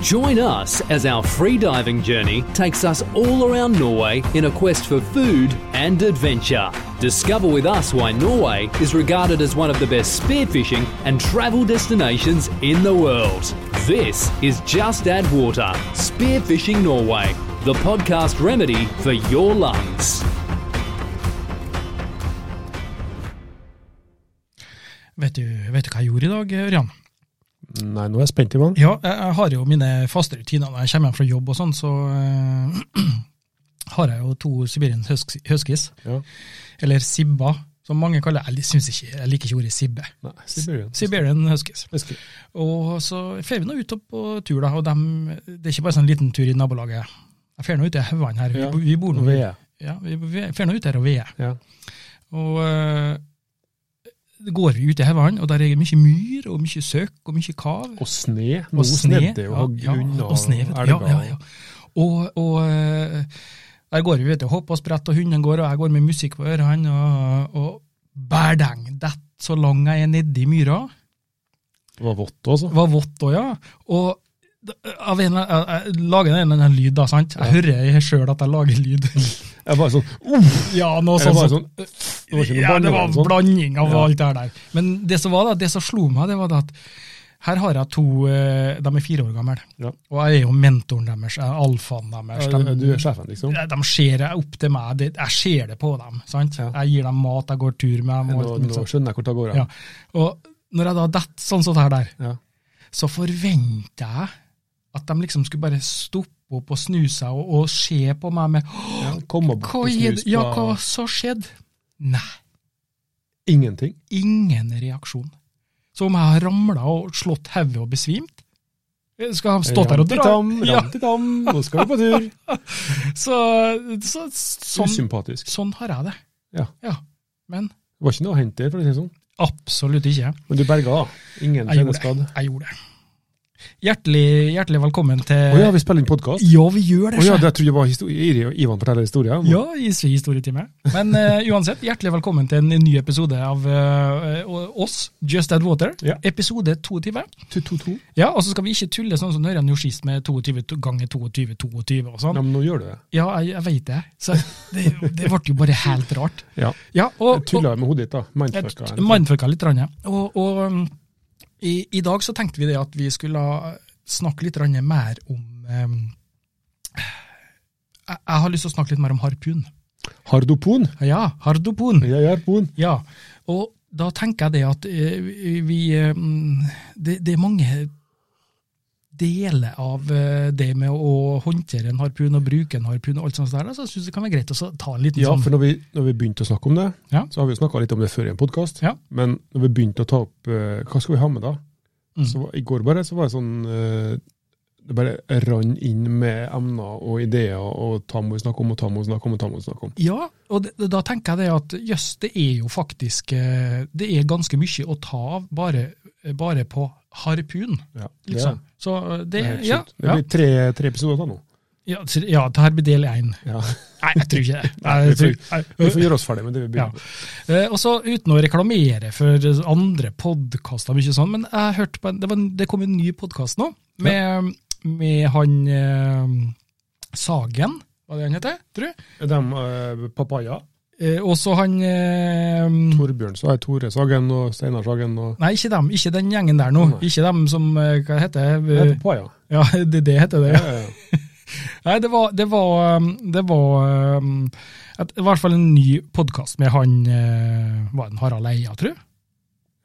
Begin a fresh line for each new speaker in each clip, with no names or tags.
Join us as our free diving journey takes us all around Norway in a quest for food and adventure. Discover with us why Norway is regarded as one of the best spearfishing and travel destinations in the world. This is Just Add Water Spearfishing Norway, the podcast remedy for your lungs.
Vet du, vet du hva jeg gjorde i dag, Ørjan?
Nei, nå er jeg spent, Ivan.
Ja, jeg, jeg har jo mine faste rutiner når jeg kommer hjem fra jobb og sånn, så eh, har jeg jo to Sibirian Husky- Huskies,
Ja.
eller Sibba, som mange kaller Jeg synes ikke, jeg liker ikke ordet Sibbe.
Nei, Sibirien.
Siberian Huskies.
Husker.
Og så fer vi nå ut opp på tur, da, og dem, det er ikke bare sånn liten tur i nabolaget. Jeg fer nå ut i haugene her. Vi,
Ja,
bo- vi bor nå
Nå er jeg.
Ja, vi, vi fer nå ut her og veier.
Ja.
Og eh, det går vi ut i haugene, og der er mye myr og mye søkk og mye kav.
Og sne. Nå snedde jo
ja,
grunn
og sne, vet du. Ja, ja, ja. Og, og eh, der går vi, vet du, hopp og sprett, og hunden går, og jeg går med musikk på ørene, og, og bærdeng, dett så lang jeg er nedi myra.
Det var vått også.
Det var vått òg, ja. Og d- av en, jeg, jeg lager en eller annen lyd, da, sant. Jeg hører sjøl at jeg lager lyd.
Jeg bare sånn, uff,
ja, noe
eller
sånt.
bare
som-
sånn, det var ikke noe
ja, det var
barnevern sånn.
blanding av
Ja.
alt det der. Men det som var da, det som slo meg, det var det at her har jeg to eh, De er fire år gamle.
Ja.
Og jeg er jo mentoren deres, jeg er alfaen deres.
Ja,
De,
Du er sjefen, liksom.
de ser jeg opp til meg, det, jeg ser det på dem. sant?
Ja.
Jeg gir dem mat, jeg går tur med dem.
Nå,
Og, alt mulig
nå
sånt.
skjønner jeg hvor det går.
ja. og når jeg da detter sånn som det her der,
Ja.
så forventer jeg at de liksom skulle bare stoppe opp og snu seg og, og se på meg med
Ja, Kom og
Hva
bort og
er
snus
det? Ja,
på
hva så skjedde? Nei.
ingenting.
ingen reaksjon. Som om jeg har ramla og slått hodet og besvimt. Jeg skal ha stått der og dra.
Ram, ram,
Ja,
ram, nå skal vi på tur.
så, så, sånn,
Usympatisk.
sånn har jeg det.
Ja.
Men
Det var ikke noe å hente der, for å si det sånn.
absolutt ikke.
Men du berga, da.
Jeg
Ingen
gjorde
skjedeskadd.
det. Jeg gjorde det. Hjertelig, hjertelig velkommen til
Å ja, vi spiller inn podkast.
Ja, vi gjør
Å
det,
ja,
sjef!
jeg trodde det var historie. Ivan forteller historier.
Ja, i historietime. Men eh, uansett, hjertelig velkommen til en ny episode av eh, oss, Just Add Water.
Ja.
Episode 22.
To, to, to.
Ja, og så skal vi ikke tulle sånn som Ørjan gjorde sist med 22 to- ganger 22, 22 og
Ja,
sånn.
men nå gjør du det.
Ja, jeg, jeg veit det. Så det, det ble jo bare helt rart.
Ja.
Ja, og, og
Tulla med hodet ditt, da.
jeg
Mindfucka.
t- mindfucka litt. grann, ja. Og, og um, i, i dag så tenkte vi det at vi skulle eh, snakke litt grann mer om um, jeg, jeg har lyst til å snakke litt mer om harpun.
Hardopon.
Ja, hardopon.
Jeg er harpon.
Ja, og da tenker jeg det at eh, vi eh, mm, det, det er mange deler av eh, det med å håndtere en harpun og bruke en harpun og alt sånt der, så jeg synes det kan være greit å så ta en liten
Ja,
sånn
Altså, for når vi, når vi begynte å snakke om det,
Ja.
så har vi jo snakka litt om det før i en podkast,
Ja.
men når vi begynte å ta opp eh, hva skal vi ha med da,
Mm.
så var, i går bare så var det sånn eh, Det bare rann inn med emner og ideer, og ta må vi snakke om, og ta må vi snakke om, og ta må vi snakke om.
Ja, og det, da tenker jeg det at jøss, det er jo faktisk eh, Det er ganske mye å ta av bare, bare på harpun,
Ja,
liksom. Så eh, det,
Det, er helt
ja,
sjukt. det
ja,
blir tre, tre episoder da nå.
ja, så- ja, det her blir del én.
Ja.
Nei, jeg tror ikke det. Nei,
vi
jeg tror,
får- Vi får gjøre oss ferdig med det vi
Ja.
begynner med.
Eh, Og så uten å reklamere for andre podkaster, mye sånn, men jeg hørte på en, det, var en, det kom en ny podkast nå, med, med han eh, Sagen, hva er det han heter, tror jeg.
De, eh, papaya,
Eh, og så han eh,
Torbjørn, så er Tore Sagen og Steinar Sagen og
Nei, ikke dem, ikke den gjengen der nå.
Nei.
Ikke dem som eh, Hva heter det?
Det er
Eh,
papaya.
Ja, det, det heter det. ja.
Ja, ja, ja.
Nei, det var Det var, um, det var um, et, i hvert fall en ny podkast med han eh, Var det Harald Eia, tror jeg?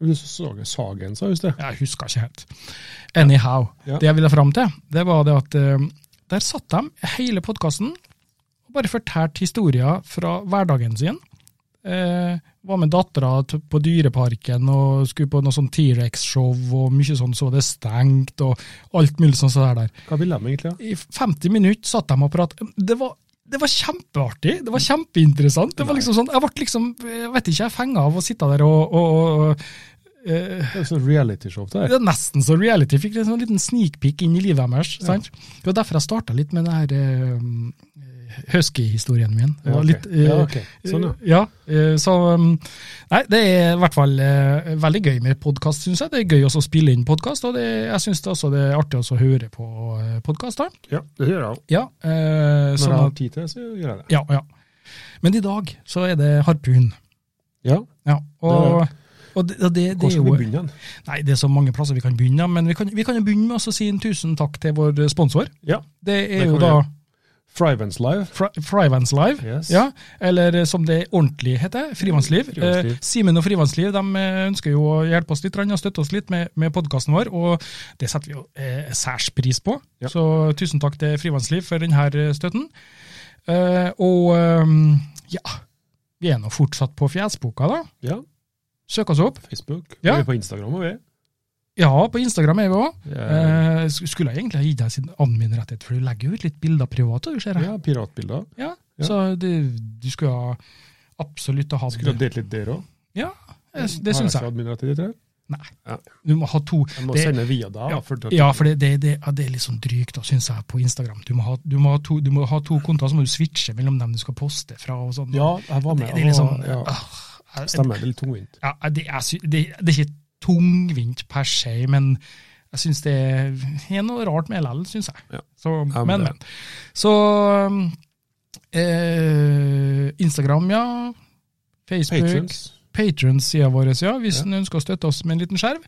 Du så Sagen, sa just det.
Jeg husker ikke helt. Anyhow.
Ja.
Det jeg ville fram til, det var det at eh, der satt de hele podkasten og bare fortalte historier fra hverdagen sin. Eh, var med dattera t- på Dyreparken og skulle på noe sånn T-rex-show og mye sånn så det stengt og alt mulig sånn som det der.
Hva ville de egentlig? da?
I 50 minutter satt de og pratet. Det var, det var kjempeartig. Det var kjempeinteressant. Det var liksom sånn, Jeg ble liksom, jeg vet ikke, jeg fenga av å sitte der og, og, og eh,
Det er jo sånn reality-show det her.
det er nesten så reality. Fikk en sånn liten sneak peek inn i livet deres. sant? Det var derfor jeg starta litt med det her eh, husky-historien min. Det
Ja,
var
ok.
litt, eh,
ja, ok. Sånn, ja.
ja, eh, så um, Nei, det er i hvert fall eh, veldig gøy med podkast, syns jeg. Det er gøy også å spille inn podkast, og det, jeg syns også det er artig også å høre på podkaster.
ja. Det gjør jeg òg.
Ja, eh,
Når
sånn
jeg har
at,
tid til det, så gjør jeg det.
ja, ja. Men i dag så er det harpun.
Ja,
Ja, og, og det, og det,
Hvor
det er
skal vi
jo
begynne? hen?
Nei, det er så mange plasser vi kan begynne, men vi kan, vi kan jo begynne med å si en tusen takk til vår sponsor.
Ja,
Det er
Det
jo
kan vi
da
gjøre. Fryvans Live.
Fri- Frivans Live.
Yes. Mm,
Ja, eller eh, som det ordentlig heter, Frivannsliv.
Frivannsliv.
Eh, Simen og Frivannsliv de eh, ønsker jo å hjelpe oss litt grann og støtte oss litt med, med podkasten vår, og det setter vi jo eh, særs pris på.
Ja.
Så tusen takk til Frivannsliv for denne eh, støtten. Eh, og eh, ja, vi er nå fortsatt på Fjesboka, da.
Ja,
Søk oss opp.
Facebook.
Ja.
Vi er på Instagram og vi.
Ja, på Instagram er vi òg.
Eh,
Eh, sk- skulle jeg egentlig ha gitt deg sin admin-rettighet, for du legger jo ut litt bilder privat. Du ser jeg.
ja, piratbilder.
Ja,
Ja.
så det, du skulle ha absolutt ha hatt
Skulle ha delt litt der òg.
Ja, jeg, det syns jeg. Nei.
Ja.
Du må ha to.
Jeg må
Det-
sende via deg.
Ja,
for det-
Ja, for det, det, det, ja, det er litt sånn drygt, da, syns jeg, på Instagram. Du må ha, du må ha to, du må ha to kontoer, så må du switche mellom dem du skal poste fra. og sånn.
ja, jeg var
det,
med.
det er litt sånn,
Å, ja.
ah, jeg-
Stemmer, det er litt tungvint.
ja, det, er, sy- det, det er ikke tungvint per se, men jeg syns det er noe rart med LL, syns jeg.
Ja.
Så,
Ja, men
men,
det-
men. Så um, eh, Instagram, ja. Facebook.
Patrons.
Patrons-sida vår, ja. Hvis
Ja.
en ønsker å støtte oss med en liten skjerv.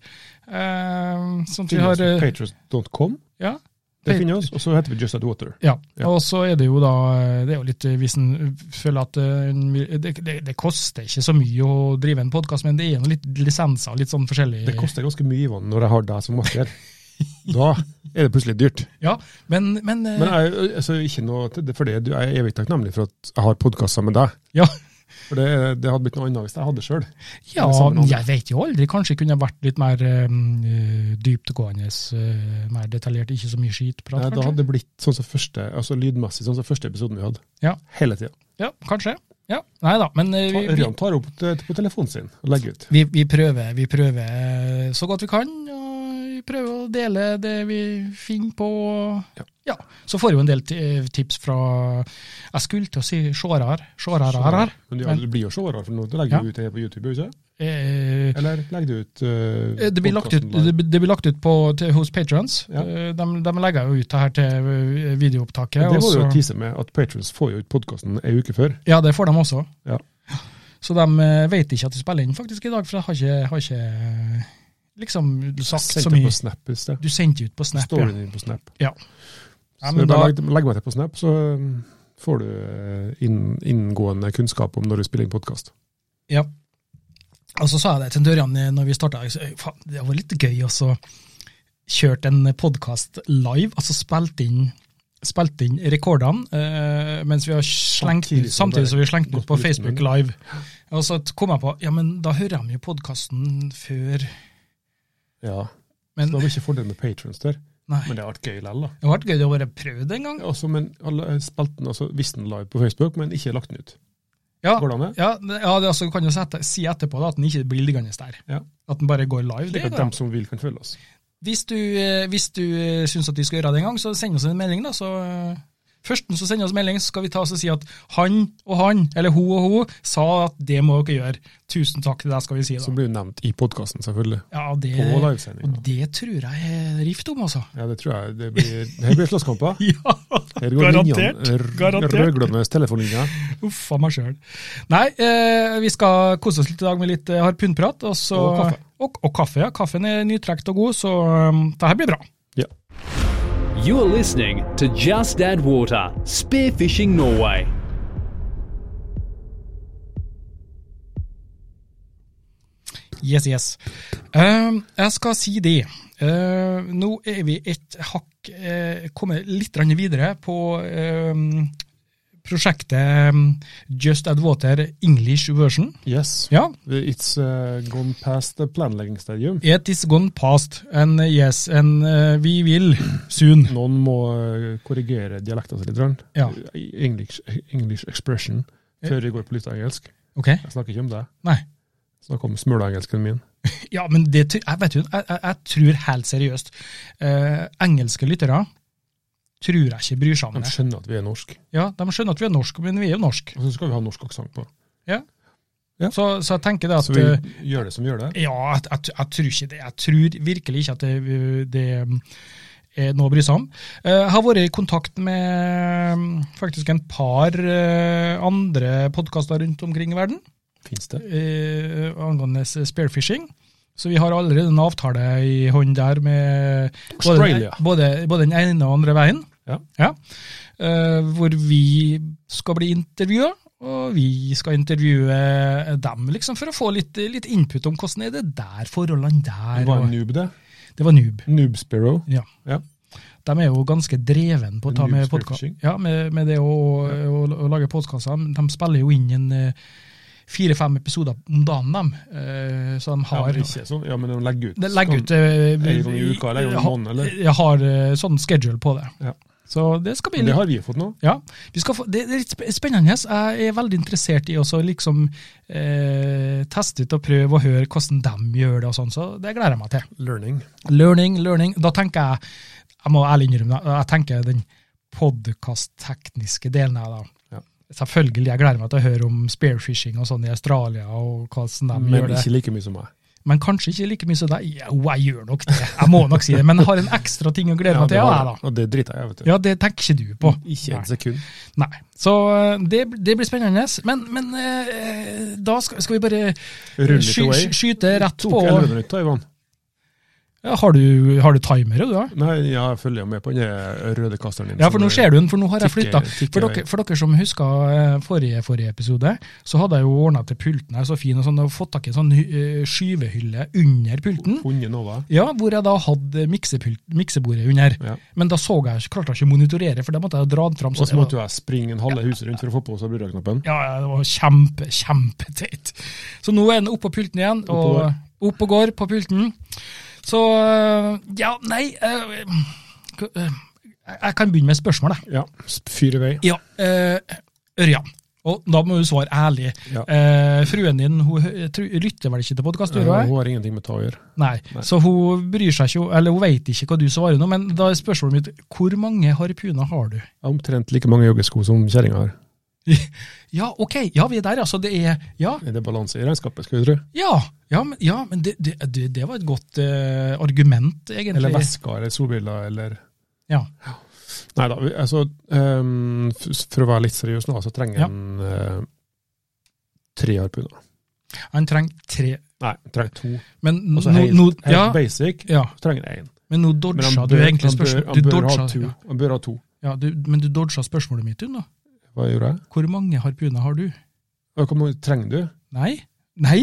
Eh, sånn at vi
Finn oss
har...
på
eh,
Patrons.com.
Ja.
Det finner oss. Og så heter vi Just At Water.
Ja,
Ja.
og så er det jo da det er jo litt, eh, Hvis en føler at eh, en vil- det, det, det koster ikke så mye å drive en podkast, men det er jo litt lisenser og litt sånn forskjellig
Det koster ganske mye, Ivan, når jeg har deg som makker. Da er det plutselig dyrt.
Ja, men, men, eh,
Men jeg, altså, ikke noe til det, for det, du jeg er evig takknemlig for at jeg har podkast sammen med deg.
Ja.
For det, det hadde blitt noe annet hvis jeg hadde det sjøl.
Ja,
Det er sammen om-
jeg vet jo aldri. Kanskje kunne jeg vært litt mer um, dyptgående, eh, mer detaljert. Ikke så mye skitprat,
Eh, Da
kanskje.
hadde det blitt sånn som første, altså lydmessig sånn som første episoden vi hadde.
Ja.
Hele tida.
Ja, kanskje. Ja, Nei da, men eh, vi, vi,
Ørjan tar opp det på telefonen sin og legger ut.
vi, vi, prøver, vi prøver så godt vi kan. og Vi prøver å dele det vi finner på.
Ja.
Ja, Så får jeg jo en del ti- eh, tips fra Jeg skulle til å si sjårar. Sjårarar.
Men du, ja, du blir jo seere, for nå legger
Ja.
du ut det på YouTube, ikke?
Eh,
Eller legger du ut eh,
Eh, Det blir lagt ut,
podcasten live?
det, det blir lagt ut på, til, hos patrons.
Ja.
Eh, De, de legger jo ut det her til eh, videoopptaket.
det må
og
du jo
så-
tise med, at patrons får jo ut podkasten ei uke før.
ja, det får de også.
Ja.
Så de eh, vet ikke at de spiller inn faktisk i dag, for jeg har ikke, har ikke eh, liksom sagt
Sendte
så mye.
på Snap i sted.
Du sendte ut på Snap, ja.
Storyen din på Snap.
Ja. Ja,
så
men
jeg bare
da-
legg, legg meg til på Snap, så um, får du eh, inn, inngående kunnskap om når du spiller inn podkast.
ja. Og så sa jeg det til Dørjan eh, når vi starta, det var litt gøy også. Kjørt en podkast live, altså spilt inn, spilt inn rekordene eh, mens vi har slengt
Samtidig
den,
som det
samtidig som vi har slengt den
gått
ut på
på luften,
Facebook Live. Og så kom jeg på ja, men da hører de jo podkasten før
Ja. Så
Men
da blir ikke fordelen med patrons der,
nei.
men det har vært gøy likevel, da.
Det hadde vært gøy å bare prøve det en gang.
Også, Altså, men alle spilte den, altså visste den live på Facebook, men ikke lagt den ut.
Ja,
Går det an, det?
ja, det- ja det, altså, du kan jo sette, si etterpå da, at den ikke blir liggende der.
Ja.
At den bare går live.
Slik
Det
at
går an.
dem som vil, kan følge oss.
Hvis du, eh, hvis du eh, syns at vi skal gjøre det en gang, så send oss en melding. da, så... eh, Først så sender oss melding, så skal vi ta oss og si at han og han, eller hun og hun, sa at det må dere gjøre. Tusen takk til deg, skal vi si
Som
da.
blir jo nevnt i podkasten, selvfølgelig.
Ja, det,
På
og
livesendinga.
det tror jeg er rift om, altså.
Ja, det tror jeg. Det blir, her blir slåsskamper.
Ja,
Her går
Garantert.
linjene, eh, r-
Garantert.
rødglødende telefonlinjer.
Uff a meg sjøl. Nei, eh, vi skal kose oss litt i dag med litt eh, harpunprat. Og, så,
Og kaffe.
Og, og kaffe, ja. Kaffen er nytrekt og god, så um, det her blir bra.
Ja.
You are listening to Just Add Water, Spearfishing Norway.
Yes, yes. Um, jeg skal si det. Eh, nå er vi et hakk eh, kommet litt grann videre på um, prosjektet um, Just Add Water English version.
Yes.
Ja,
It's uh, gone past the planleggingsstadium.
it is gone past, and yes, and eh, we will soon.
Noen må eh, korrigere dialekten sin litt. grann.
Ja.
English, English expression. Før vi går på litt engelsk.
Ok?
Jeg snakker ikke om det.
Nei.
Jeg snakker om smøleengelsken min.
Ja, men det, tr- jeg vet jo, jeg, jeg, jeg tror helt seriøst eh, Engelske lyttere tror jeg ikke bryr seg om
De
det.
skjønner at vi er norske.
Ja, De skjønner at vi er norske, men vi er jo norske.
Og så skal vi ha norsk aksent på. Ja.
Så, så jeg tenker det at
Så vi
eh,
gjør det som vi gjør det.
Ja, jeg, jeg, jeg tror ikke det. Jeg tror virkelig ikke at det, det eh, er noe å bry seg om. Eh, Jeg har vært i kontakt med mm, faktisk en par eh, andre podkaster rundt omkring i verden
Fins det?
eh, angående spearfishing. Så vi har allerede en avtale i hånd der med både,
Australia.
både, både den ene og andre veien.
Ja.
Eh, hvor vi skal bli intervjua, og vi skal intervjue dem, liksom, for å få litt, litt input om hvordan er det der, forholdene der.
Det var en
og-
noob, det.
det var Noob.
Noob Sparrow.
Ja.
Ja.
De er jo ganske dreven på å ta
Noob
med,
spiller
podka-
fishing.
ja, med, med det å, å, å lage podkaster. De spiller jo inn en eh, fire-fem episoder om dagen, dem. Eh, så de
Ja,
har
men ikke sånn. Ja, men de legger ut.
de legger ut eh,
en gang i uka, eller en gang i måneden, eller?
Jeg har eh, sånn schedule på det.
Ja.
Så det skal bli litt
Men Det har vi fått nå.
ja, vi skal få, det er litt sp- spennende. Jeg er veldig interessert i også å liksom, eh, teste ut og prøve og høre hvordan de gjør det, og sånn, så det gleder jeg meg til.
Learning.
Learning, learning. Da tenker jeg, jeg må ærlig innrømme, det, jeg tenker den podcast-tekniske delen her da.
Ja.
Selvfølgelig, jeg gleder meg til å høre om spearfishing og sånn i Australia, og hvordan de
Men
gjør det.
ikke like mye som meg.
Men kanskje ikke like mye som deg. Jo, jeg gjør nok det. Jeg må nok si det, men jeg har en ekstra ting å glede meg
det
til,
har
jeg
jeg.
da.
Og det driter jeg, vet du.
Ja, det tenker ikke du på.
Ikke
Nei.
et sekund.
Nei. Så eh, det, det blir spennende. Men, men eh, da skal, skal vi bare
Rull it
sky,
away.
sky, skyte rett
Tok
på
11 minutter, Ivan.
ja, har, du, har du timer, du? da?
Nei, ja, jeg følger jo med på den der røde kasteren din.
Ja, for nå ser du den, for nå har jeg flytta.
Tikker- tikker
For, dere- for dere som husker eh, forrige, forrige episode, så hadde jeg jo ordna til pulten her så fin, og sånn, og fått tak i en sånn eh, skyvehylle under pulten.
Hunde Nova.
Ja, hvor jeg da hadde miksepult- miksebordet under.
Ja.
Men da så jeg, klarte jeg ikke å monitorere, for da måtte jeg dra den fram.
Og så måtte jo jeg springe en halve huset rundt for å få på seg brudeknappen.
Ja, ja, det var kjempe, kjempeteit. Så nå er den opp på pulten igjen,
og
og opp og går på pulten. Så øh, ja, nei øh, k- øh, Jeg jeg kan begynne med spørsmålet.
Ja, sp- fyr i vei.
Ja, øh, Ørjan. Og da må du svare ærlig.
Ja.
Eh, fruen din hun hø- jeg tror- lytter vel ikke til podkast?
Eh, Hun har ingenting med ta å gjøre.
Nei. Så hun bryr seg ikke, eller hun vet ikke hva du svarer nå, men da er spørsmålet mitt hvor mange harpuner har du?
Jeg har Omtrent like mange joggesko som kjerringa har.
Ja, ok, ja vi er der, altså. Det er Ja.
Er det balanse i regnskapet, skal vi tro?
Ja, ja men, ja, men det, det, det, det var et godt eh, argument, egentlig.
Eller vesker eller solbriller eller
Ja.
Nei da, altså ehm, f- for å være litt seriøs nå, så trenger
Ja.
en eh, tre harpuner.
Han trenger tre.
Nei, trenger to.
Men nå,
Altså helt,
nå,
helt
ja,
basic,
ja,
så trenger en én.
men nå
Men han
dodga du
bør,
egentlig
han bør,
spørsmålet.
han
Du
bør ha
dodga,
to.
ja,
Han bør ha to.
ja, du, men du dodga spørsmålet mitt, du nå.
Hva gjorde jeg?
Hvor mange harpuner har du?
Og Hvor mange trenger du?
Nei? Nei?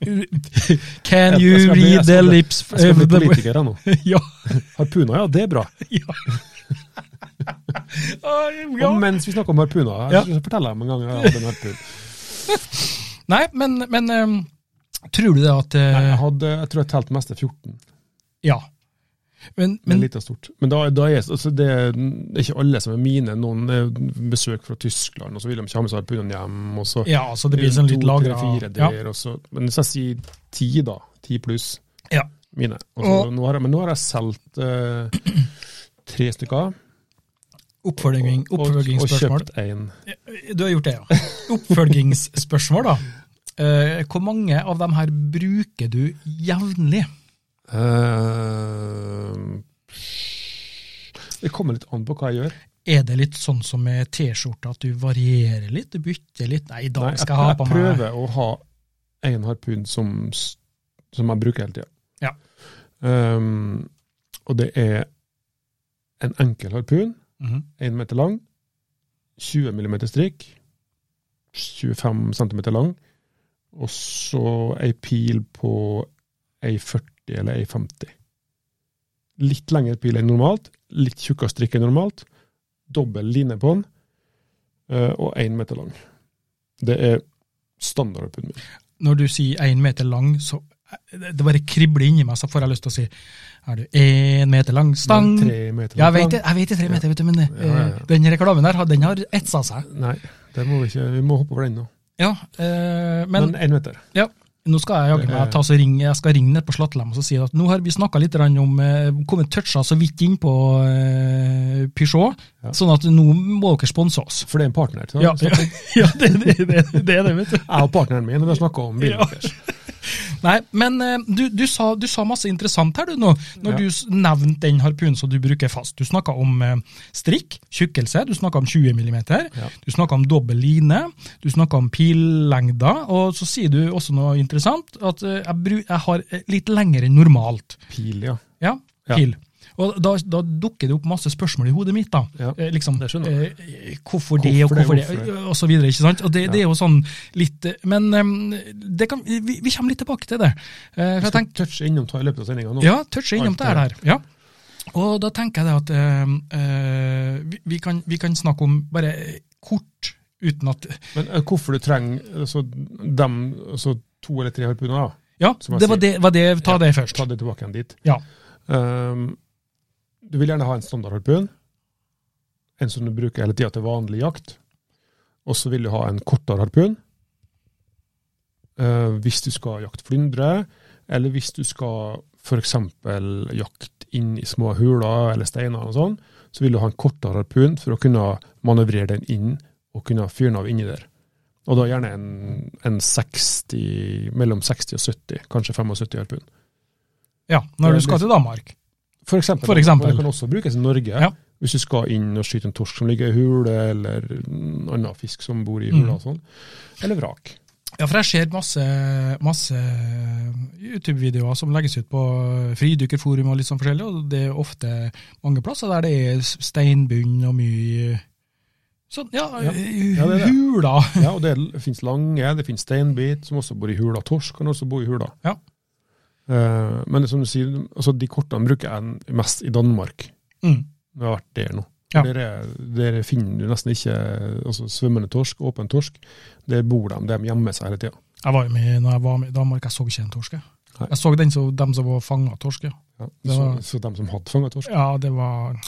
Can
Jeg- jeg
you
skal bli- jeg
read the
skal bli-
lips
Jeg skal bli
of the-
politiker jeg, nå.
Ja.
Harpuner, ja, det er bra.
ja. Å, ja.
Og mens vi snakker om harpuner,
Ja.
jeg skal fortelle om en gang jeg hadde en harpun.
Nei, men, men eh, tror du det at eh,
Nei, Jeg, hadde, jeg tror jeg telte mest til 14.
Ja. Men,
Men
men
litt av stort. Men da, da er, altså det, er- det er ikke alle som er mine. Noen er besøk fra Tyskland, og så vil de ikke ha med seg harpunene hjem. Og så
Ja, altså det blir sånn litt
to,
lagra.
tre, fire
Ja.
der, og så, Men hvis jeg sier ti, da. Ti pluss
Ja.
mine. Og så,
Og-
nå har jeg, men nå har jeg solgt eh, tre stykker.
Oppfølging,
og, og, og
oppfølgingsspørsmål.
kjøpt én.
Du har gjort det, ja. Oppfølgingsspørsmål, da. Eh, hvor mange av dem her bruker du jevnlig?
Eh, det kommer litt an på hva jeg gjør.
Er det litt sånn som med T-skjorta, at du varierer litt, du bytter litt? Nei, i dag
Nei,
skal jeg ha
jeg
på meg
prøver å ha en harpun som, s- som jeg bruker hele tida.
Ja.
Um, og det er en enkel harpun,
Mhm.
1 meter lang, 20 millimeter strikk, 25 centimeter lang, og så ei pil på ei 40 eller ei 50. Litt lengre pil enn normalt, litt tjukkere strikk enn normalt, dobbel line på den, eh, og 1 meter lang. Det er standardharpunen min.
Når du sier én meter lang, så det bare kribler inni meg, så får jeg lyst til å si Er du én meter lang stang?
Den er Tre meter
Ja, jeg
lang.
vet det, jeg vet det tre meter, vet du, men eh,
Ja, ja, ja.
den reklamen der, den har etsa seg.
Nei, det må vi ikke. Vi må hoppe over den nå.
Ja, eh, men
Men én meter.
Ja, Nå skal jeg jaggu meg ta så ring, jeg skal ringe ned på Slattelem og så si at nå har vi snakka litt grann om eh, kommet toucha så vidt innpå eh, Peugeot,
Ja.
sånn at nå må dere sponse oss.
For det er en partner. ikke sant?
Ja,
Så
ja, ja det, det, det, det er det, vet du.
Jeg og partneren min vi har snakka om bilen
Ja.
deres.
Nei, men eh, du, du, sa, du sa masse interessant her du nå, når
Ja.
du s- nevnte den harpunen som du bruker fast. Du snakka om eh, strikk, tjukkelse, du snakka om 20 mm,
Ja.
du snakka om dobbel line, du snakka om pillengder, og så sier du også noe interessant, at eh, jeg, bru, jeg har eh, litt lengre enn normalt.
Pil, ja.
Ja,
Ja.
pil. Og da, da dukker det opp masse spørsmål i hodet mitt. da.
Ja,
Eh, liksom,
det skjønø
eh, hvorfor det, og hvorfor det,
hvorfor det?
og så videre. ikke sant? Og Det, det er jo sånn litt eh, Men eh, det kan, vi, vi kommer litt tilbake til det. Eh, for jeg tenker,
Touch innom ta i løpet av sendinga nå.
ja, touch innom
Alt
det her. Ja. Og da tenker jeg det at eh, eh, vi, vi, kan, vi kan snakke om bare eh, kort, uten at
Men eh, hvorfor du trenger altså, dem, altså, to eller tre harpuner, da.
Ja,
Som jeg
det var
sier.
det, var det ta
Ja,
det først.
Ta det tilbake igjen dit.
Ja.
Ehm, du vil gjerne ha en standardharpun, en som du bruker hele tida til vanlig jakt. Og så vil du ha en kortere harpun eh, hvis du skal jakte flyndre, eller hvis du skal f.eks. jakte inn i små huler eller steiner og sånn, så vil du ha en kortere harpun for å kunne manøvrere den inn og kunne fyre den av inni der. Og da gjerne en, en 60, mellom 60 og 70, kanskje 75 harpun.
ja, Når du skal til Danmark.
For eksempel.
For eksempel.
Og Det kan også brukes i Norge.
Ja.
Hvis du skal inn og skyte en torsk som ligger i hule, eller en annen fisk som bor i
Mm.
hula og sånn. Eller vrak.
Ja, for jeg ser masse, masse YouTube-videoer som legges ut på fridykkerforum og litt sånn forskjellig, og det er ofte mange plasser der det er steinbunn og mye sånn, ja,
Ja. Ja, det er det.
hula.
Ja, og det finnes lange, det finnes steinbit som også bor i hula. Torsk kan også bo i hula.
Ja.
Eh, men som du sier, altså de kortene bruker jeg mest i Danmark.
Mm.
Når jeg har vært der nå.
Ja.
Der, er, der finner du nesten ikke altså, svømmende torsk, åpen torsk. Der bor de, de gjemmer seg hele tida.
Jeg var jo med når jeg var med i Danmark, jeg så ikke en torske.
Nei.
Jeg så den som, dem som var fanget av torske.
Ja.
Det
Så,
var-
så de som hadde fanga torsk
Ja, det var,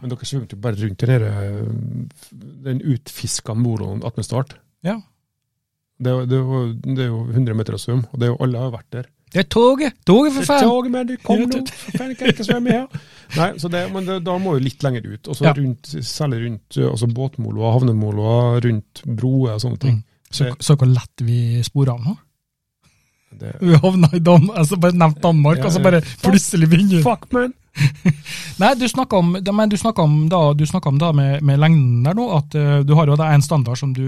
Men dere svømte jo bare rundt den, her, eh, den utfiska moroen attmed start.
ja.
Det, er jo- det, er jo- det er jo 100 meter å svømme, og det er jo alle har vært der.
Det er toget! Toget for faen!
Tog, men du kom nå, for faen, jeg kan ikke svømme her! Nei, så det, men det, da må du litt lenger ut. Og så
Ja.
rundt, særlig rundt eh, altså båtmoloer, havnemoloer, rundt broer og sånne ting.
Mm. Så, så hvor lett vi sporet av nå.
Det,
Vi havna i Danmark, altså bare nevnt Danmark,
Ja,
og så
ja.
bare plutselig begynner
fuck, man!
Nei, du snakka om, da- men du snakket om da, du snakket om da med, med lengden der nå, at eh, du har jo da en standard som du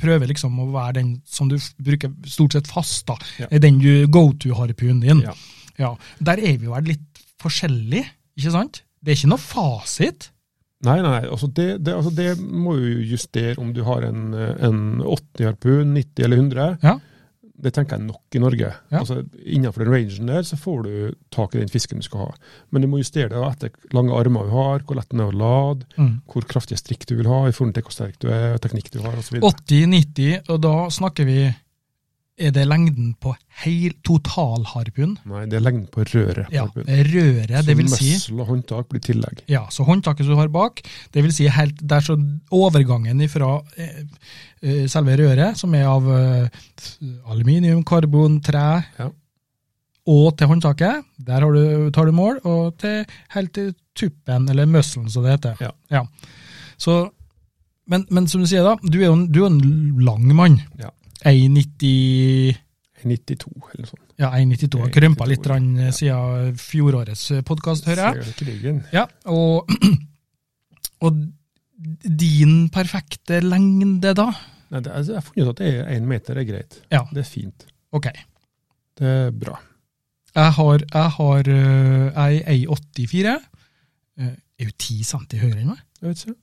prøver liksom å være den som du f- bruker stort sett fast, da.
Ja.
er Den du go to-harpunen din.
Ja.
Ja. Der er vi jo her litt forskjellige, ikke sant? Det er ikke noe fasit.
Nei, nei, altså det, det, altså det må du justere om du har en, eh, en 80-harpun, 90 eller 100.
Ja.
Det tenker jeg er nok i Norge.
Ja.
Altså, innenfor den rangen der så får du tak i den fisken du skal ha. Men du må justere det etter hvor lange armer du har, hvor lett den er å lade,
Mm.
hvor kraftige strikk du vil ha, i forhold til hvor sterk du er, teknikk du har osv.
80-90, og da snakker vi Er det lengden på heil totalharpun?
Nei, det er lengden på røret. på
Ja.
harpunen.
Røret, det vil si
Så møssel og håndtak blir tillegg.
Ja, så håndtaket som du har bak, det vil si helt der så overgangen fra selve røret, som er av eh, aluminium, karbon, tre,
Ja.
og til håndtaket, der har du, tar du mål, og til, helt til tuppen, eller musselen som det heter.
Ja.
Så, men, men som du sier da, du er jo en, du er jo en lang mann.
Ja.
1,90
92 eller noe sånt.
ja, 1,92 har krympa litt grann, eh, siden fjorårets podkast, hører jeg.
Ser krigen.
Ja, og, og din perfekte lengde, da?
Nei, det, altså, jeg har funnet ut at det er én meter er greit.
Ja.
Det er fint.
Ok.
Det er bra.
Jeg har, jeg har øh, jeg er 1,84. Eh, Er jo 10 cm høyere enn meg?
Jeg vet ikke.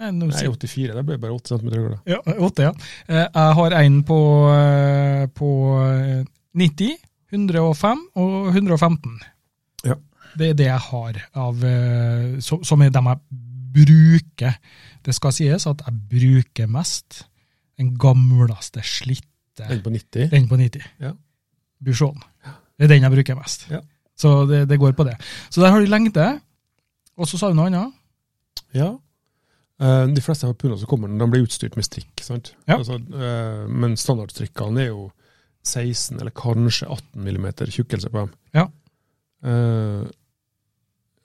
Eh, nå
Nei,
sier-
84. Da ble jeg bare 8 cm høyere. da.
Ja, åtte, ja. Eh, Jeg har en på, eh, på eh, 90, 105 og 115.
Ja.
Det er det jeg har, av, eh, som som er dem jeg bruker. Det skal sies at jeg bruker mest den gamleste slitte,
Den på 90.
den på 90.
Ja.
Busjon. Det er den jeg bruker mest.
Ja.
Så det, det går på det. Så der har du lengde, og så sa du noe annet.
Ja. Eh, De fleste harpuner som kommer, de blir utstyrt med strikk. sant?
Ja.
Altså, eh, men standardstrikkene er jo 16 eller kanskje 18 millimeter tjukkelse på dem.
Ja.
Eh,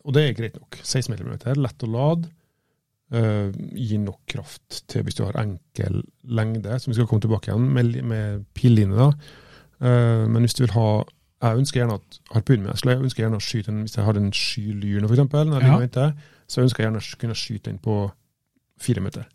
og det er greit nok. 16 millimeter, lett å lade. eh, gir nok kraft til hvis du har enkel lengde, som vi skal komme tilbake igjen med, med pilline. da. Eh, men hvis du vil ha Jeg ønsker gjerne at harpunen min jeg ønsker gjerne å skyte den, Hvis jeg har en sky lyr nå, for eksempel, når jeg ligger og venter, så ønsker jeg gjerne å kunne skyte den på fire meter.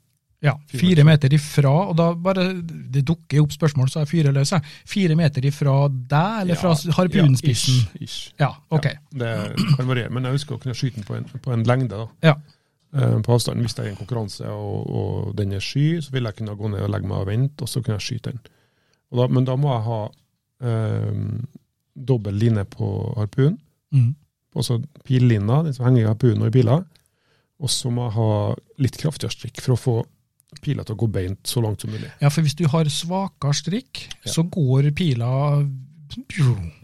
Ja, fire meter ifra, og da bare Det dukker jo opp spørsmål, så jeg fyrer løs. jeg. Fire meter ifra deg, eller fra
Ja,
harpunspissen?
Ja, ish, ish.
Ja, ok.
Ja, det kan variere, men jeg ønsker å kunne skyte den på en, på en lengde. da.
Ja.
Eh, På avstanden, Hvis det er en konkurranse og, og den er sky, så vil jeg kunne gå ned og legge meg og vente, og så kunne jeg skyte den. Og da, men da må jeg ha eh, dobbel line på harpunen,
Mm.
altså pillina, den som henger i harpunen og i pila. Og så må jeg ha litt kraftigere strikk for å få pila til å gå beint så langt som mulig.
Ja, for hvis du har svakere strikk,
Ja.
så går pila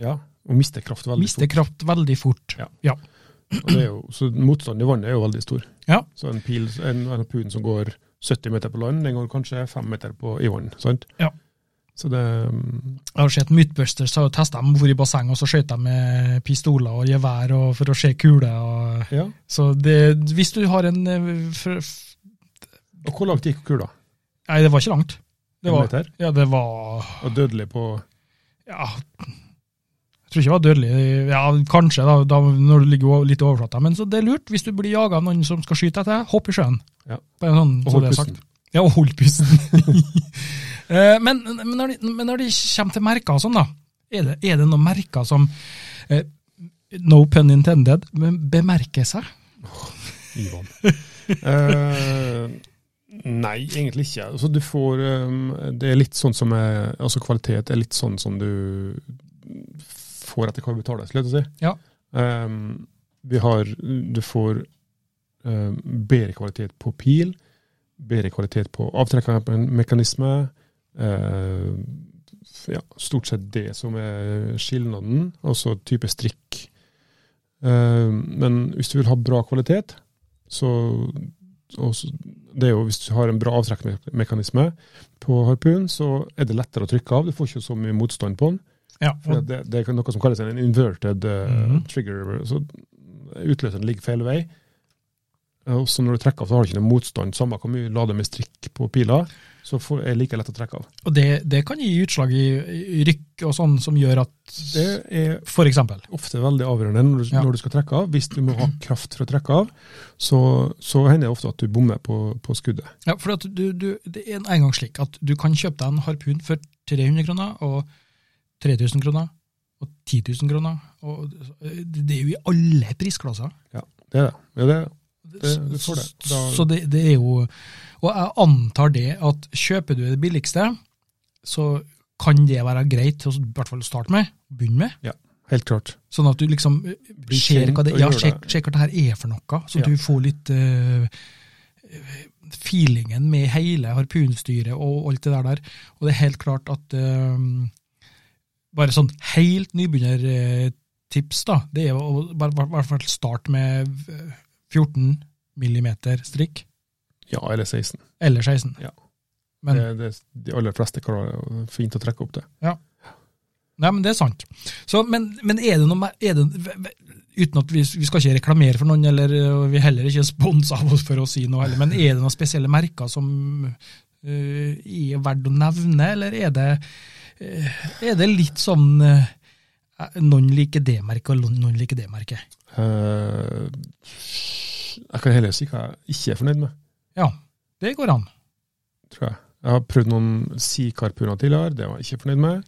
Ja, Og mister kraft veldig
Mister kraft veldig fort.
Ja.
Ja.
Og det er jo, så motstanden i vannet er jo veldig stor.
Ja.
Så en pil, en, en harpun som går 70 meter på land, den går kanskje 5 meter på, i vann. sant?
Ja.
Så det mm,
Jeg har sett Mythbusters har jo testa dem hvor i basseng, og så skjøt de med pistoler og gevær og for å se kuler. og-
Ja.
Så det, hvis du har en eh, fr- f-
Og hvor langt gikk kula?
Nei, det var ikke langt. Det
En
var,
meter?
ja, det var
Og dødelig på
ja, Jeg tror ikke det var dødelig. Ja, Kanskje, da, da når du ligger o- litt i overflata. Men så det er lurt. Hvis du blir jaga av noen som skal skyte etter deg, hopp i sjøen.
Ja.
Bare sånn,
Og
så det
holdt
er sagt. Ja, og hold pusten. Eh, men, men, når det, men når det kommer til merker og sånn, da. Er det, er det noen merker som eh, No pun intended, men bemerker seg?
i vann. eh, nei, egentlig ikke. Altså, du får ehm, Det er litt sånn som er Altså, kvalitet er litt sånn som du får etter hva du betaler, skulle jeg til å si.
Ja.
Ehm, vi har Du får ehm, bedre kvalitet på pil, bedre kvalitet på avtrekkermekanisme. Uh, ja, stort sett det som er skilnaden, altså type strikk. Eh, men hvis du vil ha bra kvalitet, så og så- det er jo, Hvis du har en bra avtrekkmekanisme på harpun, så er det lettere å trykke av. Du får ikke så mye motstand på den.
Ja,
For det, det er noe som kalles en inverted eh,
Mhm.
trigger. Så utløseren ligger feil vei. Og så når du trekker av, så har du ikke noe motstand. Samme hvor mye lader med strikk på pila, så får- er det like lett å trekke av.
og det, det kan gi utslag i, i rykk og sånn, som gjør at
Det er
For eksempel.
ofte veldig avgjørende når du,
Ja.
når du skal trekke av. Hvis du må ha kraft for å trekke av, så, så hender det ofte at du bommer på, på skuddet.
Ja, for at du, du, det er en gang slik at du kan kjøpe deg en harpun for 300 kroner, og 3000 kroner, og 10 000 kroner. Og det det er jo i alle prisklasser.
Det er det. Ja, det, er det.
Så-
Eh, du får det.
Så,
Da-
så det, det er jo Og jeg antar det at kjøper du det billigste, så kan det være greit å s- i hvert fall å starte med, begynne med.
Helt klart.
Sånn at du liksom eh,
Bli
ser
kjent
hva det,
og
ja,
gjør
sjekk,
det.
sjekk hva det her er for noe, så
Ja.
du får litt eh, feelingen med hele harpunstyret og alt det der der. Og det er helt klart at eh, bare sånn helt nybegynnertips, da, det er å bare bare- i hvert fall starte med eh, 14 millimeter strikk,
Ja, eller 16.
eller 16.
Ja.
Men,
det, det, de aller fleste klarer fint å trekke opp det.
Nei, men det er sant. Så, men, men er det noe mer- er det, Uten at vi, vi skal ikke reklamere for noen, eller øh, vi er heller ikke sponsa av oss for å si noe, heller, men er det noen spesielle merker som øh, er verdt å nevne, eller er det, øh, er det litt sånn øh, noen liker det merket, og noen liker det merket?
Eh, jeg kan heller si hva jeg ikke er fornøyd med,
Ja, det går an.
tror jeg. Jeg har prøvd noen sikarpuner tidligere, det var jeg ikke fornøyd med.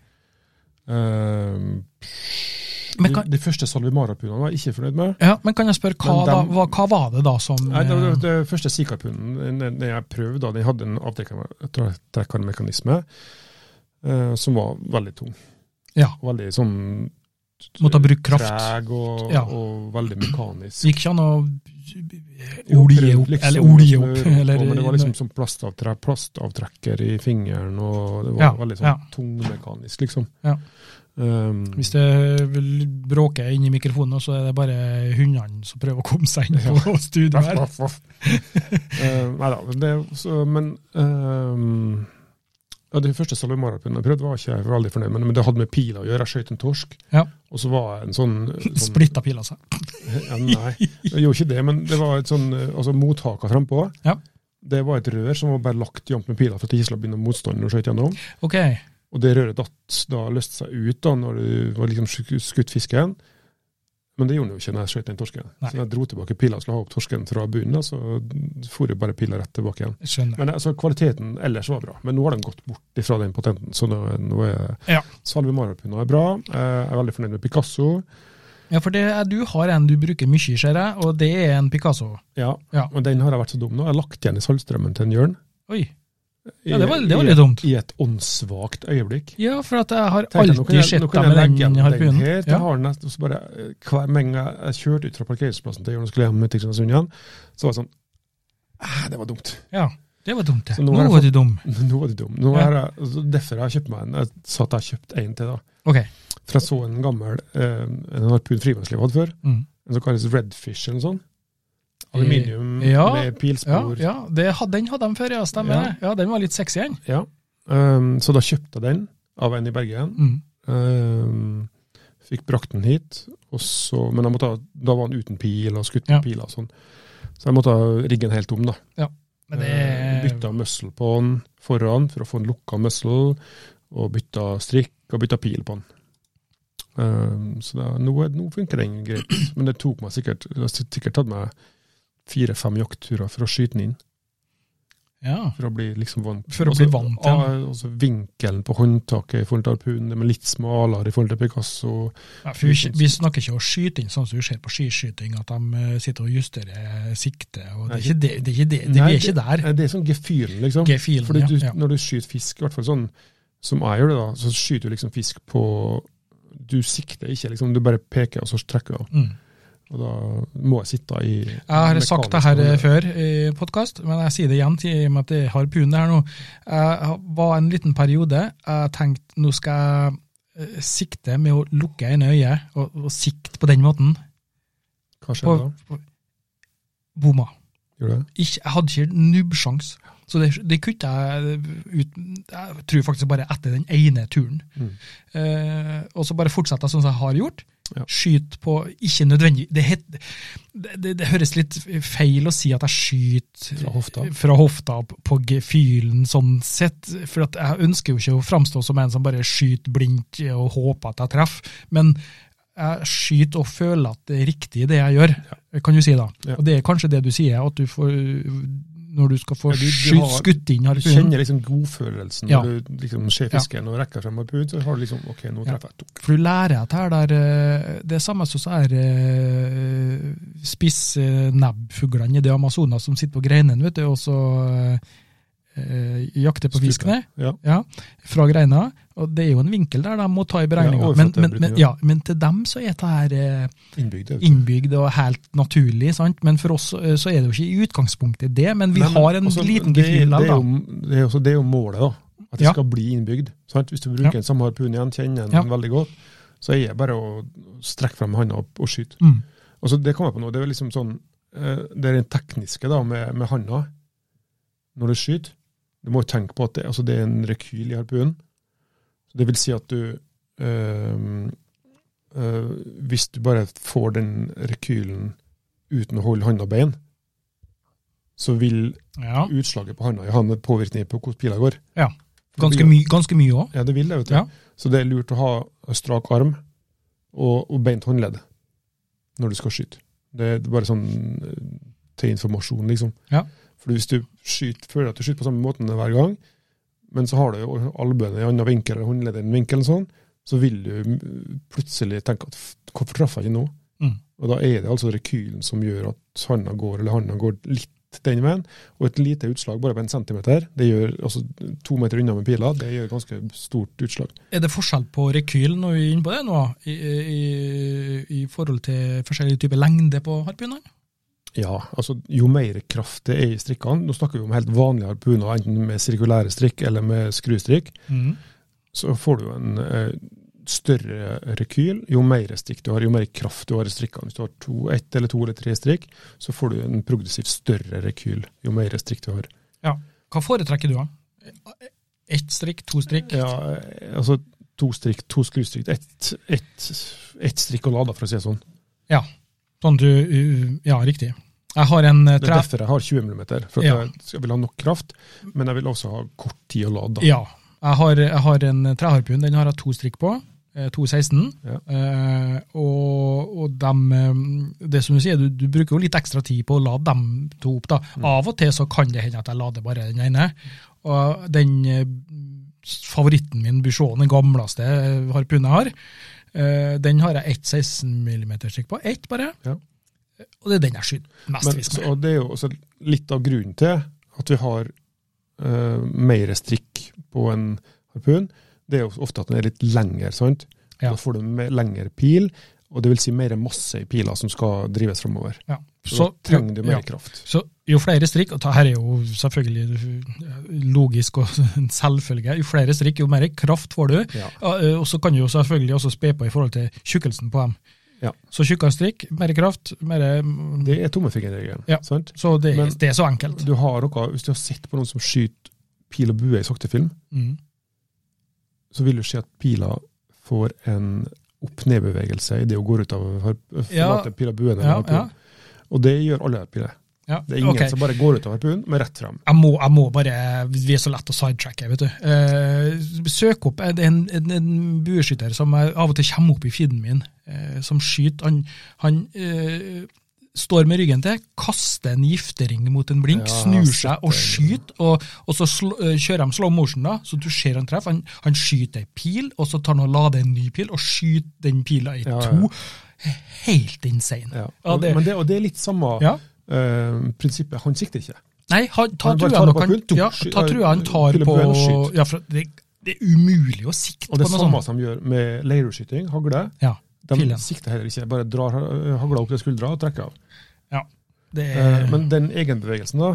Eh,
Men kan-
de, de første salvimarapunene var jeg ikke fornøyd med.
Ja, Men kan jeg spørre, hva,
Men dem-
da, hva, hva var det da som
Nei, det, det,
øh,
det første sikarpunen den, den jeg prøvde, da, den hadde en avtrekkermekanisme eh, som var veldig tung.
Ja.
Veldig sånn
Måtte bruke kraft?
Treg og,
Ja.
og veldig mekanisk.
Gikk ikke an å
Jo,
olje
prøvd
opp,
liksom
eller
å
olje
smøre
opp,
på,
eller
men det var liksom som plastavtrekk, plastavtrekker i fingeren, og det var
Ja,
veldig
ja.
sånn tungmekanisk, liksom.
Ja.
Um,
Hvis det vil bråke inni mikrofonen, så er det bare hundene som prøver å komme seg inn på studio
Vaff,
her.
vaff, vaff. Eh, Nei da, men det, så, men ehm, Ja, det første salamarepinnen jeg prøvde, var ikke jeg veldig fornøyd med, men det hadde med pila å gjøre. Jeg skjøt en torsk,
Ja.
og så var jeg en sånn, sånn
Splitta altså. pila seg.
Ja, nei, jeg gjorde ikke det, men det var et sånn, eh, altså mottaket frempå.
Ja.
Det var et rør som var bare lagt jevnt med piler for at det ikke skulle begynne motstanden og skjøt gjennom.
Ok,
Og det røret datt, da løste seg ut da, når det var liksom sku- skutt fisken. Men det gjorde den jo ikke når jeg skjøt den torsken.
Nei.
Så jeg dro tilbake pila og skulle ha opp torsken fra bunnen, da, så for jo bare pila rett tilbake igjen.
jeg skjønner.
Men altså, kvaliteten ellers var bra, men nå har den gått bort ifra den patenten. Så nå, nå er
Ja.
Salve Marapuna er bra. Eh, Jeg er veldig fornøyd med Picasso.
Ja, for det er, du har en du bruker mye, ser jeg, og det er en Picasso.
Ja,
Ja.
og den har jeg vært så dum nå. Jeg har lagt igjen i saltstrømmen til en Jørn.
Oi.
I-
Ja, det var- det var
i
litt
et-
dumt.
I et åndssvakt øyeblikk.
Ja, for at jeg har
Tenkte jeg, nå kan
alltid
jeg-
sett
nå
deg
kan jeg
med
legge igjen
den harpunen.
her, til
Ja.
Harnes, og så bare, eh, hver menge jeg kjørte ut fra parkeringsplassen til Jørn og skulle hjem til Kristiansund igjen, så var det sånn «Ah, Det var dumt.
ja, det var dumt. det.
Så nå
Nå
har jeg
var du dum.
Nå var det dumt. Nå
Ja.
har jeg, så derfor har jeg kjøpt meg en. Jeg sa at jeg har kjøpt en til, da.
Ok.
For jeg så en gammel eh, en harpun frivannsliv hadde før.
Mm.
En som kalles redfish eller noe sånt. Aluminium
Ja,
med
Ja,
pilspor.
ja det had, den hadde de før, ja, stemmer
Ja.
det. Ja, den var litt sexy, den.
Ja. Um, så da kjøpte jeg den av en i Bergen.
Mm.
Um, fikk brakt den hit, og så, men jeg måtte, ha- da var den uten pil og skutt med
Ja.
piler og sånn. Så jeg måtte ha riggen helt om, da.
Men det
Eh, Bytta muscle på den foran for å få den lukka muscle, og bytta strikk og bytta pil på den. Eh, så da, nå, er- nå funker den greit, men det tok meg sikkert det har sikkert tatt meg fire-fem jaktturer for å skyte den inn.
Ja.
For å bli liksom vant
For å bli vant til
til
den.
den. Også vinkelen på håndtaket i forhold til harpunen, den er litt smalere i forhold til Picasso.
Ja, for vi, sk- vi snakker ikke om skyting, sånn som du ser på skiskyting, at de eh, sitter og justerer siktet. og Det er ikke det, det, er ikke det, det
Nei,
vi er ikke der.
Eh, Det er sånn gefühlen, liksom.
Gefühlen,
Fordi du,
ja, ja.
Når du skyter fisk, i hvert fall sånn som jeg gjør det, da, så skyter du liksom fisk på Du sikter ikke, liksom. Du bare peker, og så trekker du av.
Mm.
Og da må jeg sitte i
Jeg har sagt det her eh, før i podkast, men jeg sier det igjen til- i og med at jeg har pune her nå. Jeg var en liten periode jeg tenkte nå skal jeg eh, sikte med å lukke ene øyet, og, og sikte på den måten.
Hva skjer
På,
da?
på, bomma.
Gjør du det?
Ikke, jeg hadde ikke nubbsjans. Så det, det kutta jeg ut Jeg tror faktisk bare etter den ene turen.
Mm.
Eh, og så bare fortsetter jeg sånn som jeg har gjort.
Ja.
Skyt på ikke nødvendig det, het, det, det, det høres litt feil å si at jeg skyter
Fra hofta?
Eh, fra hofta på- på gefühlen sånn sett. For at jeg ønsker jo ikke å framstå som en som bare skyter blindt eh, og håper at jeg treffer. Men jeg skyter og føler at det er riktig det jeg gjør, Eh, kan du si da.
Ja.
Og det er kanskje det du sier, at du får når du skal få
Ja, du- du
skyt-
har-
skutt inn
Du
harpunen.
kjenner liksom godfølelsen
Ja.
når du liksom ser
Ja.
fisken og rekker frem harpunen, så har du liksom OK, nå
Ja.
treffer jeg. Tok.
For du lærer at her der eh, Det er samme som så er eh, spissnebbfuglene i det Amazonas som sitter på greinene, vet du, og så eh, jakter på fiskene.
Ja.
Ja, fra greina. Og det er jo en vinkel der de må ta i beregninga.
Ja,
men,
overflate-
men, men, ja, men til dem så er det her eh,
Innbygd. det, vet du.
innbygd og helt naturlig, sant? men for oss eh, så er det jo ikke i utgangspunktet det, men vi
Nei, men
har en
altså,
liten
det-
gefühl
det
der,
er
da.
jo- Det, er også- det er jo målet, da. At det
Ja.
skal bli innbygd. Sant? Hvis du bruker
Ja.
en samme harpun igjen, kjenner den
Ja.
veldig godt, så er det bare å strekke frem handa opp og skyte.
Mm.
Og så det kom jeg på nå, det er liksom sånn eh, Det er det tekniske da, med, med handa når du skyter. Du må jo tenke på at det, altså det er en rekyl i harpunen. Så Det vil si at du eh, eh, Hvis du bare får den rekylen uten å holde handa og bein, så vil
Ja,
utslaget på handa i handa påvirkning på hvordan pila går.
Ja.
For det
ganske,
blir-
my, ganske mye òg.
Ja, det vil det, vet du.
Ja.
Så det er lurt å ha strak arm og, og beint håndledd når du skal skyte. Det er bare sånn eh, til informasjon, liksom.
Ja.
For hvis du skyter, føler at du skyter på samme måten hver gang, men så har du jo albuene i en annen vinkel eller håndleddet i en vinkel, eller sånn, så vil du mm, plutselig tenke at "F- hvorfor traff jeg ikke nå?
Mm.
Og da er det altså rekylen som gjør at handa går, eller handa går litt den veien, og et lite utslag bare på en centimeter, det gjør altså to meter unna med pila, det gjør ganske stort utslag.
Er det forskjell på rekyl når vi er inne på det nå, i, i, i forhold til forskjellig type lengde på harpunene?
Ja, altså jo mer kraft det er i strikkene, nå snakker vi om helt vanlige harpuner, enten med sirkulære strikk eller med skrustrikk, så får du en eh, større rekyl. Jo mer strikk du har, jo mer kraft du har i strikkene. Hvis du har to, ett eller to eller tre strikk, så får du en progressivt større rekyl jo mer strikk du har.
Hva foretrekker du, da? Ett strikk, to strikk.
Ja, altså to strikk, to skrustrikk, ett ett- ett strikk og lada, for å si det sånn.
Sånn du uh, Ja, riktig. Jeg har en eh,
Det
tre...
er derfor jeg har 20 mm, for at
Ja.
jeg, jeg vil ha nok kraft, men jeg vil også ha kort tid å lade.
Ja. Jeg har, jeg har en treharpun. Den har jeg to strikk på. eh, 2.16.
Ja.
Eh, og og dem, eh, det som du sier, du, du bruker jo litt ekstra tid på å lade dem to opp. da.
Mm.
Av og til så kan det hende at jeg lader bare den ene. Og den eh, favoritten min, Bushauen, den gamleste eh, harpunen jeg har, eh, den har jeg ett 16 mm strikk på. Ett bare.
Ja.
Og det er den jeg skyter mest
Men,
fisk
så,
med.
og det er jo også litt av grunnen til at vi har uh, mer strikk på en harpun. Det er jo ofte at den er litt lengre, sant?
Ja.
Da får du mer, lengre pil, og det vil si mer masse i pila som skal drives framover.
Ja.
Så, da trenger du mer
ja.
kraft.
Så jo flere strikk, og det her er jo selvfølgelig logisk og en selvfølge, jo flere strikk, jo mer kraft får du.
Ja.
Og eh, og så kan du jo selvfølgelig også spe på i forhold til tjukkelsen på dem.
Ja.
Så tjukkere strikk, mer kraft, mer
Det er tommefingerregelen.
Ja.
sant?
Så det, er-
Men-
det er så enkelt.
Du har noe, hvis du har sett på noen som skyter pil og bue i sakte film,
Mm.
så vil du se at pila får en opp-ned-bevegelse i det å gå ut av harp-
Ja.
forlate pil og buen. eller
Ja,
harpunen.
ja,
Og det gjør alle harpuner.
ja.
Det er ingen
Ok.
som bare går ut av harpunen med rett frem.
Jeg må, jeg må bare, Vi er så lett å sidetracke. vet du. Eh, søk opp en, en, en, en bueskytter som jeg av og til kommer opp i feeden min, eh, som skyter. Han, han eh, står med ryggen til, kaster en giftering mot en blink,
Ja,
snur seg og
sitter.
skyter. Og, og så sl, eh, kjører de slow motion, da, så du ser han treffer. Han, han skyter ei pil, og så tar han og lader en ny pil, og skyter den pila i
Ja, ja.
to. Helt insane.
Ja.
Ja, det-
Men det, og det er litt samme
Ja.
eh, prinsippet. Han sikter ikke.
Nei, han, ta
Han bare
trua
tar det
nok
på eh,
han,
pult,
ja,
sky-
ta trua han tar
pille
på
buen og skyt.
ja, for det, det er umulig å sikte
Og det
på
er
noe
samme
sånt.
som gjør med leirskyting, hagle.
Ja,
De
Filen.
sikter heller ikke, bare drar eh, hagla opp til skuldra og trekker av.
ja, det er,
Eh, men den egenbevegelsen da,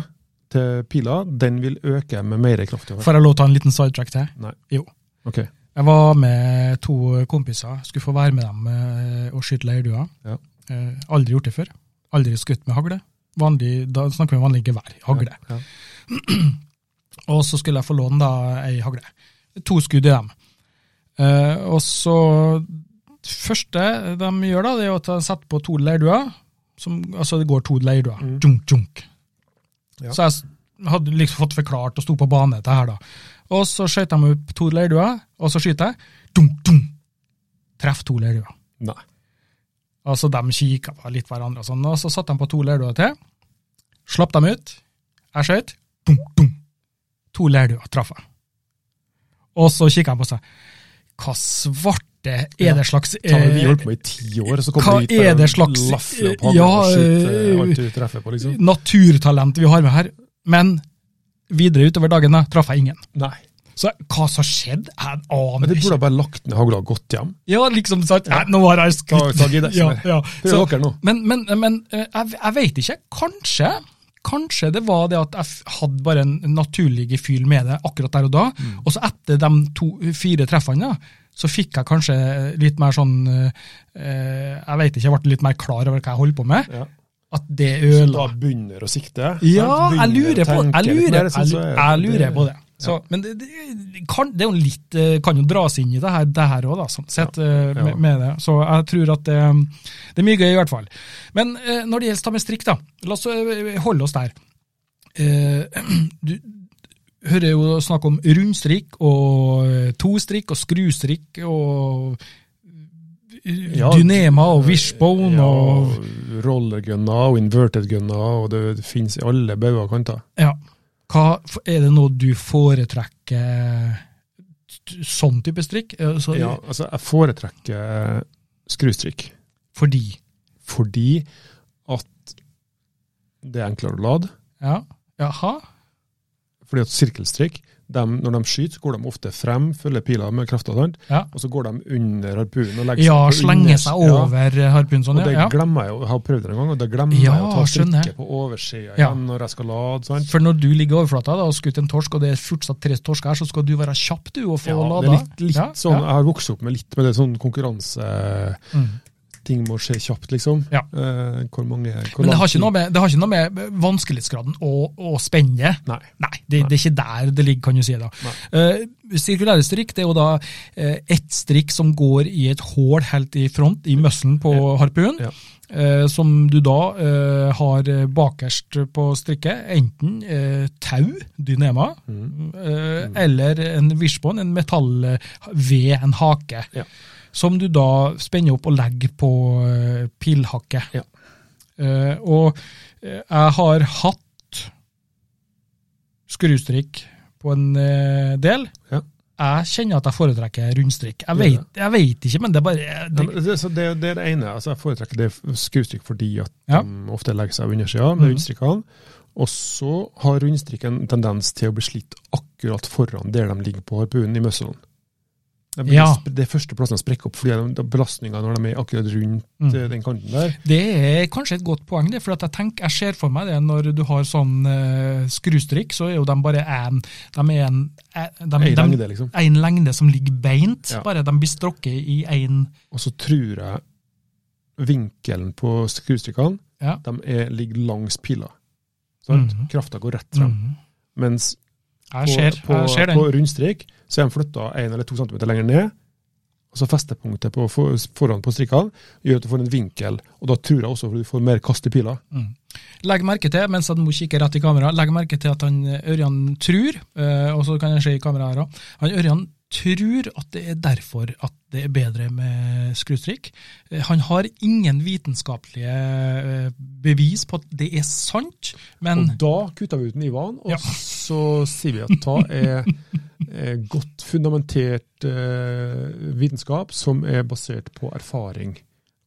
til pila, den vil øke med mer kraft. i hvert fall.
Får jeg lov til å ta en liten sidetrack til?
Nei.
Jo.
Ok.
Jeg var med to kompiser, skulle få være med dem eh, og skyte leirduer.
Ja.
Eh, Aldri gjort det før. Aldri skutt med hagle. Vanlig, da snakker vi om vanlig gevær, hagle.
Ja, ja.
Og så skulle jeg få låne da ei hagle. To skudd i dem. Eh, og så første de gjør, da, det er jo at de setter på to leirduer. Som, altså det går to leirduer.
Mm.
Dunk, dunk.
Ja.
Så jeg s- hadde liksom fått forklart og sto på bane dette her, da. Og så skjøt de opp to leirduer, og så skyter jeg. Dunk, dunk. Treff to leirduer.
Nei.
Altså, de kikka på litt hverandre og sånn, og så satt de på to leirduer til. Slapp dem ut. Jeg skjøt. Dunk, dunk. To leirduer traff jeg. Og så kikka de på seg. Hva svarte er det slags
Ta med, vi
eh,
holdt på i ti år, så
hva
kommer du hit
er
bare
det
og
slags-
lafler opp hagla
Ja,
og skyter eh,
eh,
alt du treffer på, liksom.
naturtalent vi har med her? Men videre utover dagen da, traff jeg ingen.
Nei.
Så hva som skjedde? Jeg
Men
aner
du
ikke.
burde ha bare lagt ned hagla og gått hjem.
Ja, liksom sant. Nei, nå har jeg
Ta,
skutt.
ta gidesen
Ja,
her.
ja.
Prøv
Så-
dere nå.
Men, men, men eh, jeg, jeg vet ikke. Kanskje kanskje det var det at jeg f- hadde bare en naturlig gefühl med det akkurat der og da.
Mm.
Og så etter de to, fire treffene, da, så fikk jeg kanskje litt mer sånn eh, eh, Jeg vet ikke, jeg ble litt mer klar over hva jeg holdt på med.
Ja.
At det
Så da
ødela
begynner å sikte.
Ja,
sant?
jeg
Begynner
lurer
å
på,
tenke
jeg
litt
lurer,
mer, sånn,
jeg,
så er
jeg lurer på det. Så, men det, det, kan, det er jo litt, eh, kan jo dras inn i det her, det her også, da, sånn sett, eh,
ja.
Med, med det. Så jeg tror at det, det er mye gøy i hvert fall. Men eh, når det gjelder ta med strikk, da, la oss eh, holde oss der. Eh, du hører jo snakk om rundstrikk og eh, tostrikk og skrustrikk og eh,
Ja,
Dynema og wishbone
Ja,
og
rollergunner og inverted gunner, og det, det finnes i alle bauger og kanter.
Ja. Hva, er det noe du foretrekker t- sånn type strikk? Eh, Så,
Ja, altså, jeg foretrekker eh, skrustrikk,
Fordi
fordi at det er enklere å lade.
ja. Jaha.
Fordi at sirkelstrikk, de, når de skyter, går de ofte frem, følger pila med krafta, sant?
Ja.
og så går de under harpunen og legger
ja,
på
slenge
unders-
seg
Ja,
over ja. harpunen sånn,
Og det
ja. ja.
glemmer jeg jo, jeg har prøvd det en gang, og det glemmer
Ja,
jeg å ta
skjønner.
strikket på oversida
Ja.
igjen når jeg skal lade. sant?
For når du ligger i overflata da, og har skutt en torsk, og det er fortsatt tre torsker her, så skal du være kjapp du og få
Ja, det
lada.
er litt, litt
Ja, ja.
sånn, Jeg har vokst opp med litt med det sånn konkurranse...
Mm.
ting må skje kjapt, liksom.
Ja.
Eh, hvor mange hvor
Men det
lang
har ikke
tid-
noe med, det har ikke noe med vanskelighetsgraden og, og spennet.
Nei.
Nei, det, det er ikke der det ligger, kan du si. da. Eh, sirkulære strikk det er jo da eh, ett strikk som går i et hull helt i front, i møssen på harpunen,
Ja.
eh, som du da eh, har bakerst på strikket, enten eh, tau, dynema,
Mm.
eh, eller en wishbone, en metallved, en hake,
Ja.
som du da spenner opp og legger på eh, pilhakket.
Ja.
Eh, og eh, jeg har hatt skrustrikk på en eh, del.
Ja.
Jeg kjenner at jeg foretrekker rundstrikk. Jeg
Gjør
vet, jeg vet ikke, men det er bare eh,
Ja,
det,
men det, så det, det er det ene. Altså, jeg foretrekker det skrustrikk fordi at
Ja. Mhm.
de ofte legger seg på undersida med rundstrikkene. Og så har rundstrikken en tendens til å bli slitt akkurat foran der de ligger på harpunen i møsselen. Det, blir,
Ja.
det er første plassen de sprekker opp, fordi de- de- belastninga når de er akkurat rundt
Mm.
eh, den kanten der.
det er kanskje et godt poeng, det, for at jeg tenker, jeg ser for meg det når du har sånn eh, skrustrikk, så er jo de bare en, de er en, eh, de,
er i
de,
lengde, liksom.
en lengde som ligger beint,
Ja.
bare de blir strokket i én
Og så tror jeg vinkelen på skrustrikkene
Ja.
de er, ligger langs pila. Mm
Mhm.
Krafta går rett frem. Mens
Mm. Jeg ser,
på,
jeg ser den.
på rundstrik, så er de flytta 1 eller 2 cm lenger ned. Og så festepunktet på for, foran på strikkene gjør at du får en vinkel, og da tror jeg også at du får mer kast i pila.
Legg merke til, mens at Mo kikker rett i kamera, legg merke til at han eh, Ørjan tror, eh, og så kan jeg se i kameraet her også, han Ørjan tror at det er derfor at det er bedre med skrustrikk. Eh, Han har ingen vitenskapelige eh, bevis på at det er sant, men
Og da kutter vi ut nivåen, og
Ja.
så sier vi at ta er, er godt fundamentert eh, vitenskap som er basert på erfaring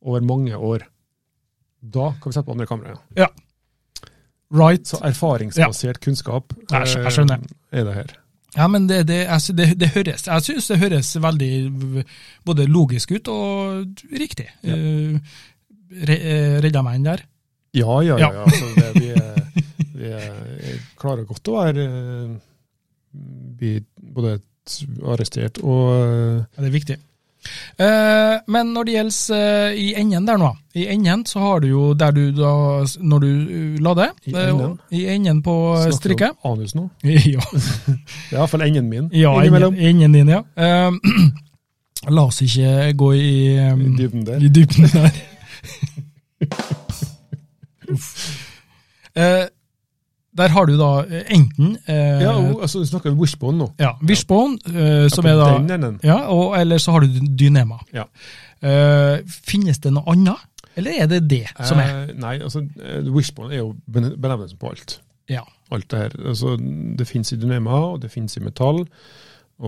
over mange år. Da kan vi sette på andre kameraet.
ja. Right.
Så erfaringsbasert kunnskap
Jeg skj- jeg
eh,
skjønner.
er det her.
Ja, men det, det, jeg, sy- det, det høres Jeg synes det høres veldig v- både logisk ut og riktig.
Ja.
Eh, re- eh, Redda meg inn der.
Ja, ja,
Ja.
ja. ja. Altså, det, vi, er, vi er, klarer godt å være eh, bli både t- arrestert og eh,
Ja, det er viktig. Eh, men når det gjelder eh, i enden der nå, i enden så har du jo der du da, når du eh, lader
I
det er jo-
enden?
I enden på eh,
snakker
strikket.
om Anus nå.
ja,
Det er iallfall enden min.
ja enden,
innimellom.
enden din, ja. Eh, la oss ikke gå i, eh,
I dybden der.
i dybden der. Uff. Eh, der har du da eh, enten eh,
Ja, og, altså, du snakker om wishbone nå.
ja, wishbone, eh, som
Ja,
er
på
da
den enden.
Ja, og eller så har du Dynema.
Ja.
Eh, finnes det noe annet, eller er det det som er?
Eh, nei, altså, eh, wishbone er jo bene- benevnelsen på alt.
Ja.
Alt det her. Altså, det fins i dynema, og det fins i metall,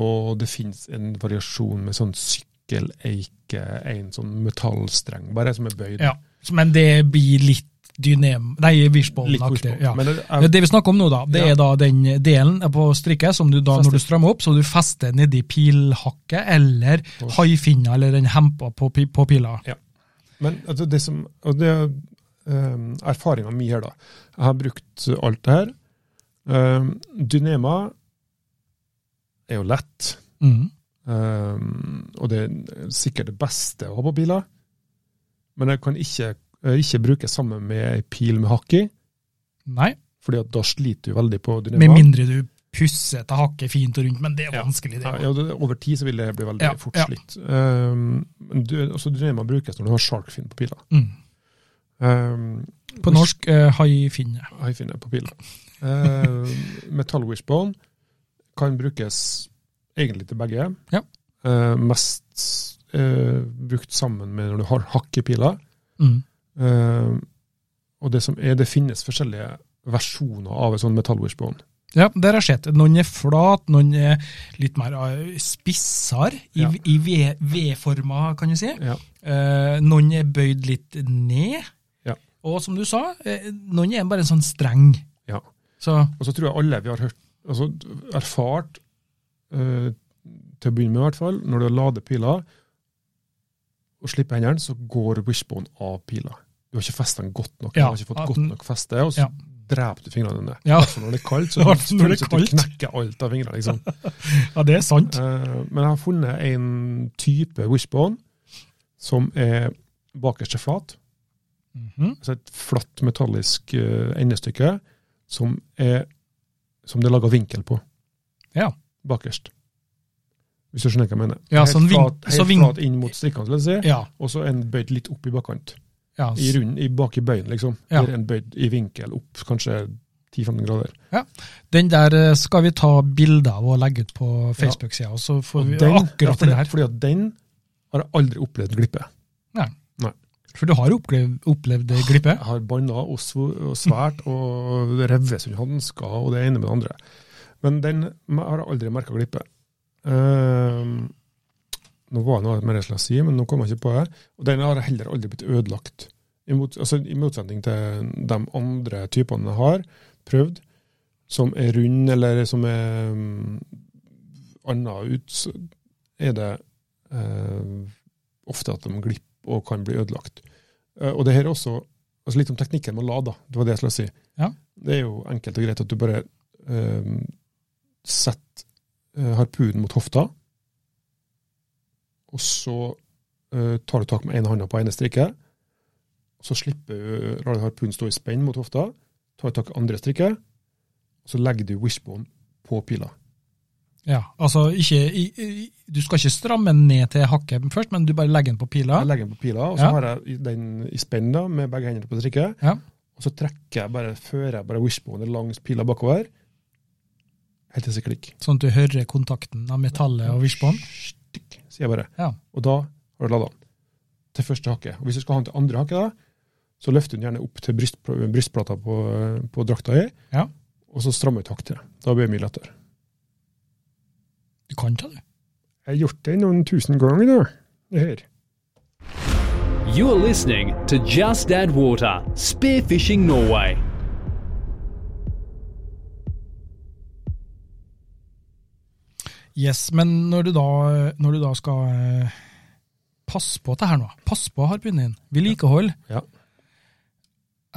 og det fins en variasjon med sånn sykkeleike, en sånn metallstreng, bare som er bøyd.
ja. Så, Men det blir litt Dynema Nei, Wishbone-aktig.
Litt
Ja.
Men det
Ja,
er,
Det vi snakker om nå, da, det
Ja.
er da den delen på strikket som du da,
Fester.
når du strammer opp, så du fester nedi pilhakket eller
Og-
haifinna eller den hempa på, pi- på pila.
men altså det som og det, um, Erfaringa mi her, da. Jeg har brukt alt det her. Um, Dynema er jo lett,
Mhm.
um, og det er sikkert det beste å ha på biler. Men jeg kan ikke, jeg ikke bruke sammen med ei pil med hakk i,
Nei,
fordi at da sliter du veldig på
med
dynema.
mindre du pusser til hakket fint og rundt, men det er
Ja.
vanskelig, det.
Ja, ja, det- over tid så vil det bli veldig
Ja,
fort
ja.
slitt. Um, men du, også dynema brukes når du har sharkfin på pila.
Mm.
Um,
På norsk eh, haifinne.
Haifinne på pila. Eh, Metall wishbone kan brukes egentlig til begge.
Ja.
Eh, mest eh, brukt sammen med når du har hakk i pila.
Mm.
Eh, og det som er, det finnes forskjellige versjoner av en sånn metall wishbone.
Ja, der har jeg sett. Noen er flat, noen er litt mer eh, spissere, i,
Ja.
i V- V-forma, kan du si.
Ja.
Eh, noen er bøyd litt ned.
Ja.
Og som du sa, eh, noen er bare en sånn streng.
Ja.
Så,
Og så tror jeg alle vi har hørt, altså erfart, eh, til å begynne med i hvert fall, når du lader pila og slipper hendene, så går wishbone av pila. Du har ikke festet den godt nok,
Ja,
du har ikke fått
at
godt
den-
nok feste, og så
Ja.
dreper du fingrene dine.
ja.
For når det er kaldt, så
I hvert
føles
fall
det
når det er
som at du
kaldt.
knekker alt av fingrene. Liksom.
ja, det er sant.
Eh, men jeg har funnet en type wishbone som er bakerste flat.
Mhm.
Altså et flatt metallisk eh, endestykke som, er, som det er laga vinkel på.
Ja.
Bakerst. Hvis du skjønner hva jeg mener.
Ja, sånn vink-
flat, helt
så vink-
flat inn mot strikkene, vil jeg si.
Ja,
Og så en bøyd litt opp i bakkant.
ja.
I rund, i bak i bøyen, liksom.
Ja.
Eller en bøyd i vinkel opp kanskje 10-15 grader.
Den der eh, skal vi ta bilder av og legge ut på Facebook-sida, og så får
Og
vi
den- ja,
akkurat
fordi,
den her.
fordi at den har jeg aldri opplevd glippe.
For du har opplevd, opplevd det glippet?
Jeg har banna og sv- og svært og revet som hansker og det ene med det andre. Men den me- har jeg aldri merka glippe. Ehm, nå var det noe mer jeg skulle si, men nå kom jeg ikke på det. Og den har heller aldri blitt ødelagt. I, mot, altså, I motsetning til de andre typene jeg har prøvd, som er rund eller som er um, annet ut, så er det eh, ofte at de glipper og kan bli ødelagt. Eh, og det her er også altså litt om teknikken med å lade. da. Det var det jeg skulle si.
Ja.
Det er jo enkelt og greit at du bare eh, setter eh, harpunen mot hofta, og så eh, tar du tak med ene hånda på ene strikket, og så slipper du, lar du harpunen stå i spenn mot hofta, tar du tak i andre strikket, og så legger du wishbone på pila.
Ja, altså ikke, i- i- du skal ikke stramme den ned til hakket først, men du bare legger den på pila.
Jeg legger den på pila, og så
Ja.
har jeg i- den i spenn da, med begge hendene på strikket.
Ja.
Og så trekker jeg bare, fører jeg bare wishbone langs pila bakover, helt til det klikker.
Sånn at du hører kontakten av metallet og wishbone.
Stikk, sier jeg bare.
Ja.
Og da har du lada den til første hakket. Og hvis du skal ha den til andre hakket, da, så løfter du den gjerne opp til bryst, brystplata på, på drakta i,
Ja.
og så strammer du takk til. Da blir det mye lettere.
Du kan ta det.
Jeg har gjort det noen tusen ganger, da. Det her.
You're listening to Just Add Water Spearfishing Norway.
Yes, men når du da, når du da skal eh, passe på det her nå, pass på harpunen din, vedlikehold.
Ja.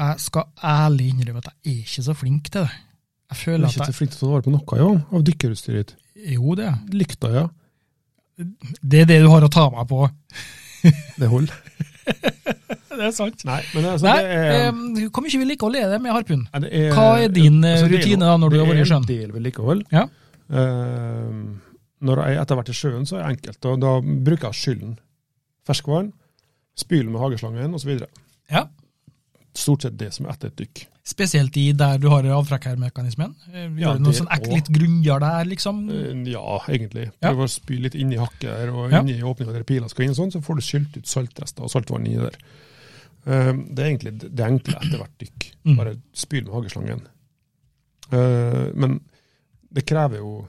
Jeg skal ærlig innrømme at jeg er ikke så flink til det. Jeg
Jeg
føler
er
at
ikke
jeg,
så flink til å ta vare på noe, ja, av dykkerutstyret ditt.
jo det, er jeg.
Lykta, ja.
det er det du har å ta meg på.
Det holder.
Det er sant.
Nei, men altså,
Nei,
det er
eh, hvor mye vedlikehold er det med harpun?
Nei, det er-
Hva er din, eh,
Altså, det er
rutine
jo-
da, når du har vært i sjøen?
Det er en del vedlikehold.
Ja.
Eh, når jeg etter hvert er i sjøen, så er det enkelt. Og da bruker jeg skylden. Ferskvann, spyle med hageslangen osv.
Ja.
Stort sett det som er etter et dykk.
Spesielt i der du har avtrekkermekanismen. Eh, Gjør
Ja,
du noe
det
sånn ek,
også.
litt grunnere der, liksom?
Eh, Ja, egentlig.
Ja.
Prøv å spyle litt inni hakket her, og
Ja.
inni åpninga der pila skal inn, og sånn, så får du skylt ut saltrester og saltvann inni der. Eh, Det er egentlig det det enkle etter hvert dykk.
Mm.
Bare spyl med hageslangen. Eh, Men det krever jo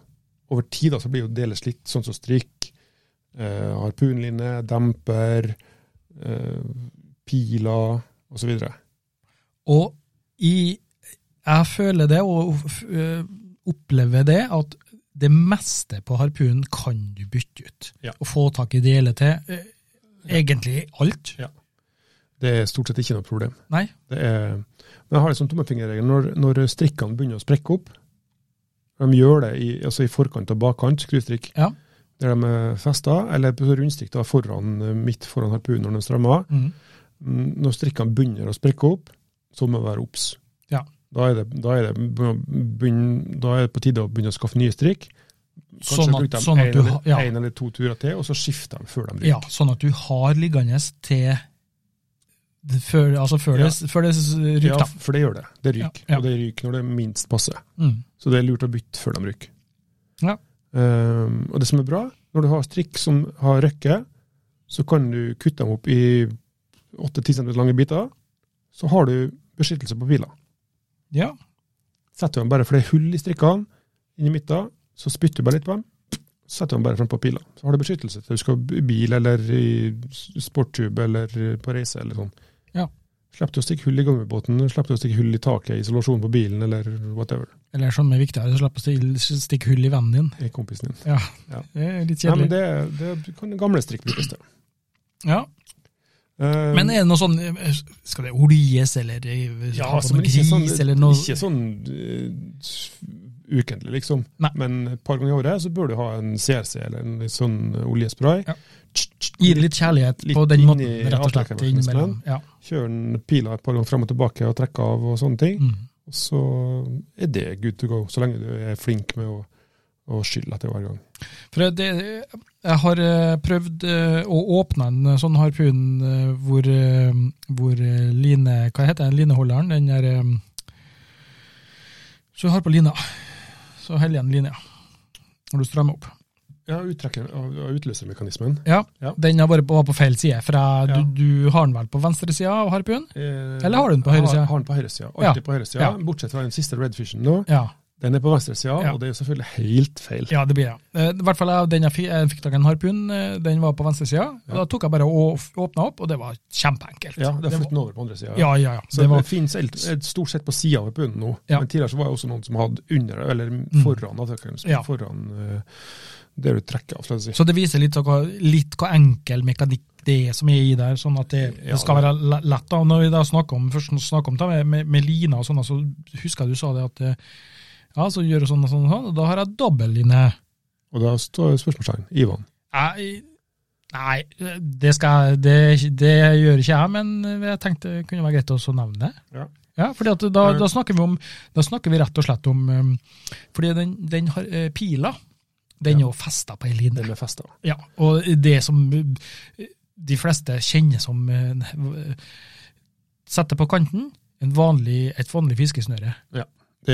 Over tid da, så blir jo deles litt sånn som strikk, eh, harpunlinje, demper, eh, piler osv.
Og i, jeg føler det, og f- øh, opplever det, at det meste på harpunen kan du bytte ut.
Ja.
Og få tak i deler til. eh, Egentlig alt.
Det er stort sett ikke noe problem.
Nei.
Det er, men jeg har en sånn tommefingerregel. Når, når strikkene begynner å sprekke opp, de gjør det i, altså i forkant og bakkant, skrustrikk,
Ja.
der de er festa, eller på rundstrikk da, foran, eh, midt foran harpunen når de strammer av.
Mm.
Mm, Når strikkene begynner å sprekke opp, så må vi være obs.
Ja.
Da, er det, da, er det, begynn- da er det på tide å begynne å skaffe nye strikk. Kanskje
Sånn
bruke
at,
dem
sånn at
en
du
eller,
har ja,
en eller to turer til, og så skifte dem før de ryker.
ja, sånn at du har liggende til det før, altså før,
Ja.
det, før det s- ryker.
Ja,
da.
for det gjør det. Det ryker.
Ja, ja.
Og det ryker når det minst passer.
Mm.
Så det er lurt å bytte før de ryker.
Ja.
Ehm, og det som er bra, når du har strikk som har røkke, så kan du kutte dem opp i 8-10 cm lange biter. Så har du beskyttelse på pila.
Ja.
Setter du dem bare for det er hull i strikkene inni midten, så spytter du bare litt på dem. Setter du dem bare frem på pila. Så har du beskyttelse til du skal i bil eller i sportstube eller på reise eller sånn.
Ja.
Slipper du å stikke hull i gummibåten, slipper du å stikke hull i taket, isolasjon på bilen eller whatever.
Eller som er viktigere, slapp å stil- stikke hull i vennen din.
Det er kompisen din.
Det er litt
Nei,
kjedelig.
men det, det kan gamle strikk brukes til.
ja.
Eh,
Men er det noe sånn eh, Skal det oljes, eller eh,
ja,
ha på
altså, men
noe
ikke
gris,
sånn,
eller noe
Ikke sånn eh, ukentlig, liksom.
Nei.
Men et par ganger i året så bør du ha en CRC eller en litt sånn oljespray.
Ja. Gi det litt kjærlighet
Litt
på den
inn
måten,
i
rett og slett.
avtrekkermekanismen.
Innimellom. Ja.
Kjøre den pila et par ganger frem og tilbake og trekke av og sånne ting.
Mm.
Og så er det good to go, så lenge du er flink med å, å skylle etter hver gang.
For det, jeg har eh, prøvd eh, å åpne en sånn harpun eh, hvor, eh, hvor eh, line, hva heter den, lineholderen, den der eh, Så du har på lina, så holder igjen linja når du strammer opp.
Ja, uttrekker av av utløsermekanismen.
Ja,
Ja.
Den har bare på, var på feil side, for jeg,
Ja.
du, du har den vel på venstresida av harpun?
Eller
Eller har du den på høyre side?
Eh, Har, har den på høyre side.
Ja.
Alltid på høyre side.
Ja.
Bortsett fra den siste redfishen nå.
Ja.
Den er på venstre side,
Ja.
og det er jo selvfølgelig helt feil.
Ja, det blir det. Eh, I hvert fall jeg- den jeg fikk, jeg fikk tak i en harpun, eh, den var på venstresida. og Da tok jeg bare og åpna opp, og det var kjempeenkelt. Det
Ja, det har
var-
flyttet den over på andre sida.
ja, ja, ja.
Så
det
det,
var,
finnes helt, helt stort sett på sida av bunnen nå.
Ja. Mm.
Men tidligere så var det også noen som hadde under, eller foran, avtrekkeren,
Ja.
foran eh, det du trekker av. skal jeg si.
så det viser litt hva, litt hva enkel mekanikk det er som er i der, sånn at det,
Ja,
det skal
det-
være le- lett. da. Og Når vi da snakker om, først snakker om det med, med, med lina og sånn, så husker jeg du sa det at eh, ja, så gjør du sånn og sånn, og sånn, og da har jeg dobbeltline.
Og da står spørsmålstegn. Ivan.
Jeg- Nei, det, skal, jeg- det, det gjør ikke jeg, men jeg tenkte det kunne være greit også å nevne det.
Ja.
Ja, fordi at da,
Ja.
da, snakker vi om, da snakker vi rett og slett om um, Fordi den, den har eh, pila, den er jo festa på ei line.
Den er festa.
Ja, og det som eh, de fleste kjenner som eh, Setter på kanten en vanlig, et vanlig fiskesnøre.
Det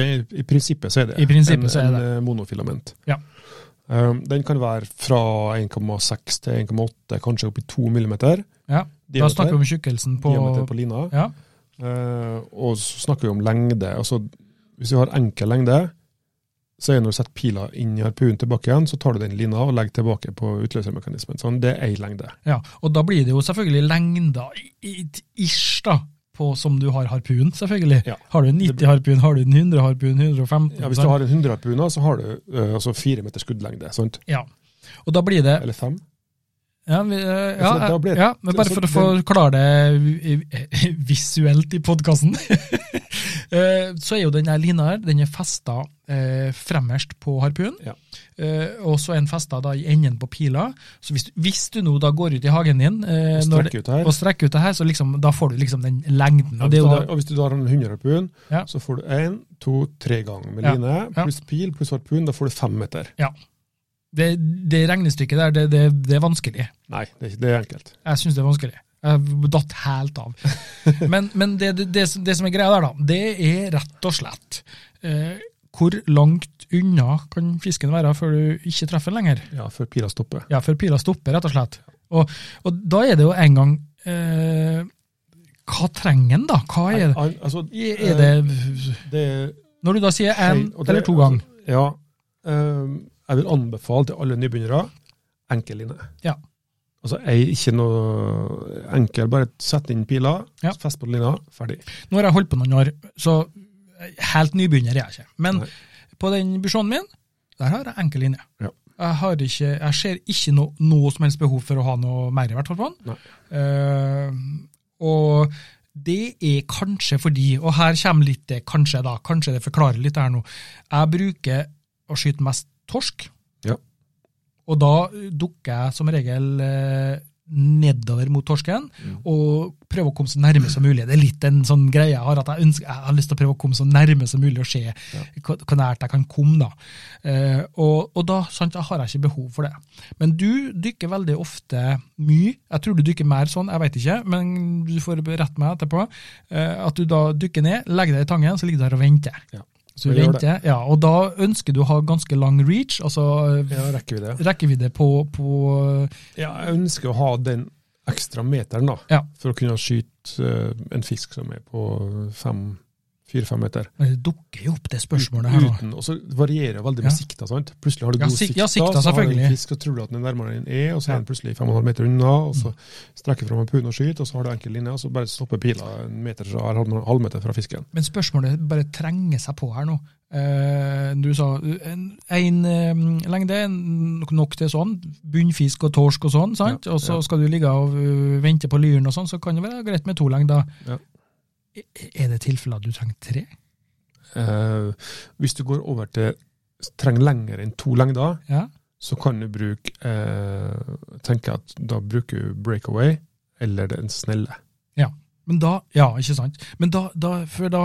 er, I prinsippet så er det
I prinsippet
en,
så er det.
en eh, monofilament.
Ja.
Um, den kan være fra 1,6 til 1,8, kanskje opp i 2 millimeter.
Ja, da snakker vi om tjukkelsen på,
diameter på lina.
ja,
Eh, og så snakker vi om lengde. Altså, hvis vi har enkel lengde, så er det når du setter pila inn i harpunen tilbake igjen, så tar du den lina og legger tilbake på utløsermekanismen. Sånn, det er ei lengde.
ja. Og da blir det jo selvfølgelig lengda i- i- ish, da. På, som du har harpun, selvfølgelig.
Ja.
Har du en 90 harpun, har du en 100 harpun, 115
Ja, hvis du har en 100 harpun, så har du eh, altså fire meter skuddlengde. Sant?
ja. Og da blir det
Eller fem.
Ja, vi, eh, ja,
da
ja,
blir-
ja, men bare
så
for å
det-
forklare det vi- vi- visuelt i podkasten, så er jo den her lina her, den er festa eh, fremmerst på harpunen.
Ja.
Eh, og så er den festa da i enden på pila. Så hvis, du- hvis du nå da går ut i hagen din eh,
Og
når det-
strekker ut her.
og strekker ut det her, så liksom, da får du liksom den lengden.
Ja,
Og
hvis,
det er jo
du har,
da,
og hvis du har en 100 harpun,
Ja.
så får du én, to, tre ganger med
Ja.
line,
Ja.
pluss pil, pluss harpun. Da får du fem meter.
ja. det, det regnestykket der, det, det, det er vanskelig.
Nei, det er, ikke- det er enkelt.
Jeg syns det er vanskelig. Jeg datt helt av. Men, men det, det, det, som- det som er greia der, da, det er rett og slett eh, hvor langt unna kan fisken være før du ikke treffer den lenger?
Ja, før pila stopper.
Ja, før pila stopper, rett og slett. Og, og da er det jo en gang eh, Hva trenger den, da? Hva er det?
Nei, altså, eh,
Er det
det er
Når du da sier én
Hei, og det-
eller to ganger
Ja. ehm, jeg vil anbefale til alle nybegynnere enkel line.
Ja.
Altså ei, ikke noe enkel, bare sett inn pila,
Ja.
fest på lina, ferdig.
Nå har jeg holdt på noen år, så helt nybegynner er jeg ikke. Men
Nei.
på den busjonen min, der har jeg enkel linje.
Ja.
Jeg, har ikke, jeg ser ikke no, noe som helst behov for å ha noe mer, i hvert fall på den.
Nei.
Eh, og det er kanskje fordi, og her kommer litt det kanskje, da. Kanskje det forklarer litt her nå. Jeg bruker å skyte mest torsk.
Ja.
Og da dukker jeg som regel eh, nedover mot torsken,
Mm.
og prøve å komme så nærme som mulig. Det er litt en sånn greie jeg har, at jeg, ønsker, jeg har lyst til å prøve å komme så nærme som mulig og se hva hvor nært jeg kan komme. da. Eh, og, og da sant, da har jeg ikke behov for det. Men du dykker veldig ofte mye. Jeg tror du dykker mer sånn, jeg vet ikke, men du får rette meg etterpå. Eh, at du da dykker ned, legger deg i tangen, så ligger du der og venter.
Ja.
Så du
Jeg gjør det.
venter, ja, Og da ønsker du å ha ganske lang reach, altså eh,
Ja, rekker vi det?
rekkevidde på, på eh,
Ja, jeg ønsker å ha den ekstra meteren, da.
Ja.
For å kunne skyte eh, en fisk som er på fem fire-fem meter.
men Det dukker jo opp det spørsmålet her nå.
Uten, og så varierer veldig
Ja.
med sikta. sant? Plutselig har du
Ja,
god
sik-
sikt,
ja, sikta,
så har du
selvfølgelig.
en fisk og tror du at den er nærmere enn den er, og så
Ja. Mm.
er den plutselig 5,5 meter unna, og så strekker fram en pund og skyter, og så har du enkel linje, og så bare stopper pila en meter fra, eller halv- halvmeter fra fisken.
Men spørsmålet bare trenger seg på her nå. Eh, du sa én lengde, en- nok til sånn, bunnfisk og torsk og sånn, sant?
Ja,
og så
ja.
skal du ligge og eh, vente på lyren og sånn, så kan det være greit med to lengder. E,
Ja.
Er- Er det tilfellet at du trenger tre?
Eh, hvis du går over til trenger lenger enn to lengder,
Ja.
så kan du bruke eh, tenke at da bruker du breakaway eller den snelle.
Men da, ja, ikke sant. Men da, da for da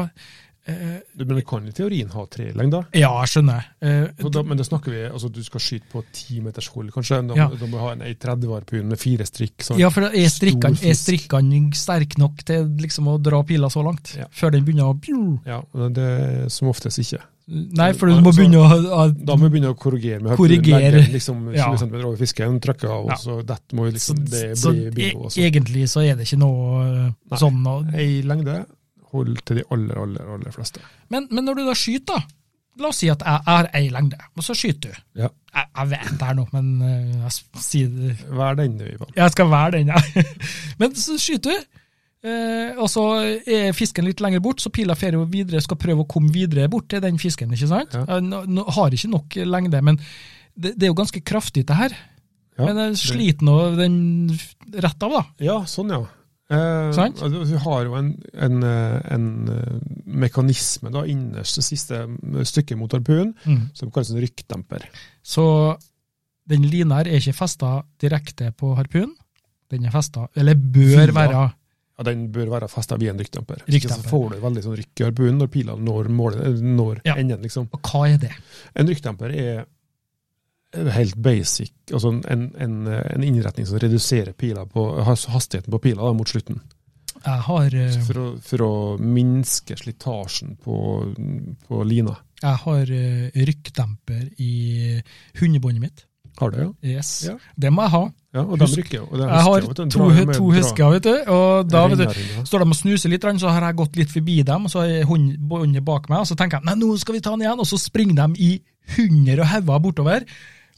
eh,
Du, Men du kan i teorien ha tre lengder.
Ja, jeg skjønner. Eh,
Og da, men da snakker vi altså du skal skyte på ti meters hull, kanskje. Da,
Ja.
da må du ha en ei 30-var på hund med fire strikk. Sånn.
ja, for da er
stor
strikkene er
fisk.
strikkene sterk nok til liksom å dra pila så langt?
Ja.
Før den begynner å pju?
Ja, og det er som oftest ikke.
Nei, for du må
Altså,
begynne å
Da må vi begynne å korrigere. med høyt.
Korrigere.
Legge liksom 20
Ja.
cm over fisken, trykke av,
Ja.
og så dette må jo
Så,
liksom Det
så
blir bingo.
e-
Også.
egentlig så er det ikke noe eh,
Nei.
sånn å-
Ei lengde hold til de aller, aller, aller fleste.
men, men når du da skyter, da. La oss si at jeg har ei lengde, og så skyter du.
Ja.
Jeg, jeg vet det her nå, men eh, jeg s- sier det
Vær den, Ivan.
Jeg skal være den, jeg. Men så skyter du, eh, og så er fisken litt lenger bort, så pila fer jo videre, skal prøve å komme videre bort til den fisken, ikke sant?
Ja.
Eh, Nå, nå har ikke nok lengde, men det, det er jo ganske kraftig det her.
Ja,
men jeg
det-
sliter nå den f- rett av, da.
Ja, sånn, ja. Eh,
Sant?
altså, Du har jo en, en, eh, en eh, mekanisme da, innerst det siste eh, stykket mot harpunen som kalles en rykkdemper.
Så den lina her er ikke festa direkte på harpunen. Den er festa, eller bør
Fila.
være
Ja, den bør være festa via en rykkdemper.
Rykkdemper.
Så får du veldig sånn rykk i harpunen når pila når, målet, eh, når
Ja.
enden. liksom.
Og hva er det?
En rykkdemper er helt basic, altså en, en, en innretning som reduserer pila på, has- hastigheten på pila da, mot slutten.
Jeg har, eh,
Så For å, for å minske slitasjen på, på lina.
jeg har eh, rykkdemper i hundebåndet mitt.
Har du det, ja?
Yes.
Ja.
Det må jeg ha.
Ja, og de
Husk-
rykker jo. og de
Jeg
husker
har
jo at de
to,
drar jo med-
to
drar-
husker, vet du. Og da vet du,
Ringa, ringa.
står de og snuser litt, så har jeg gått litt forbi dem, og så er hund- båndet bak meg, og så tenker jeg nei, nå skal vi ta den igjen, og så springer de i hunder og hauger bortover.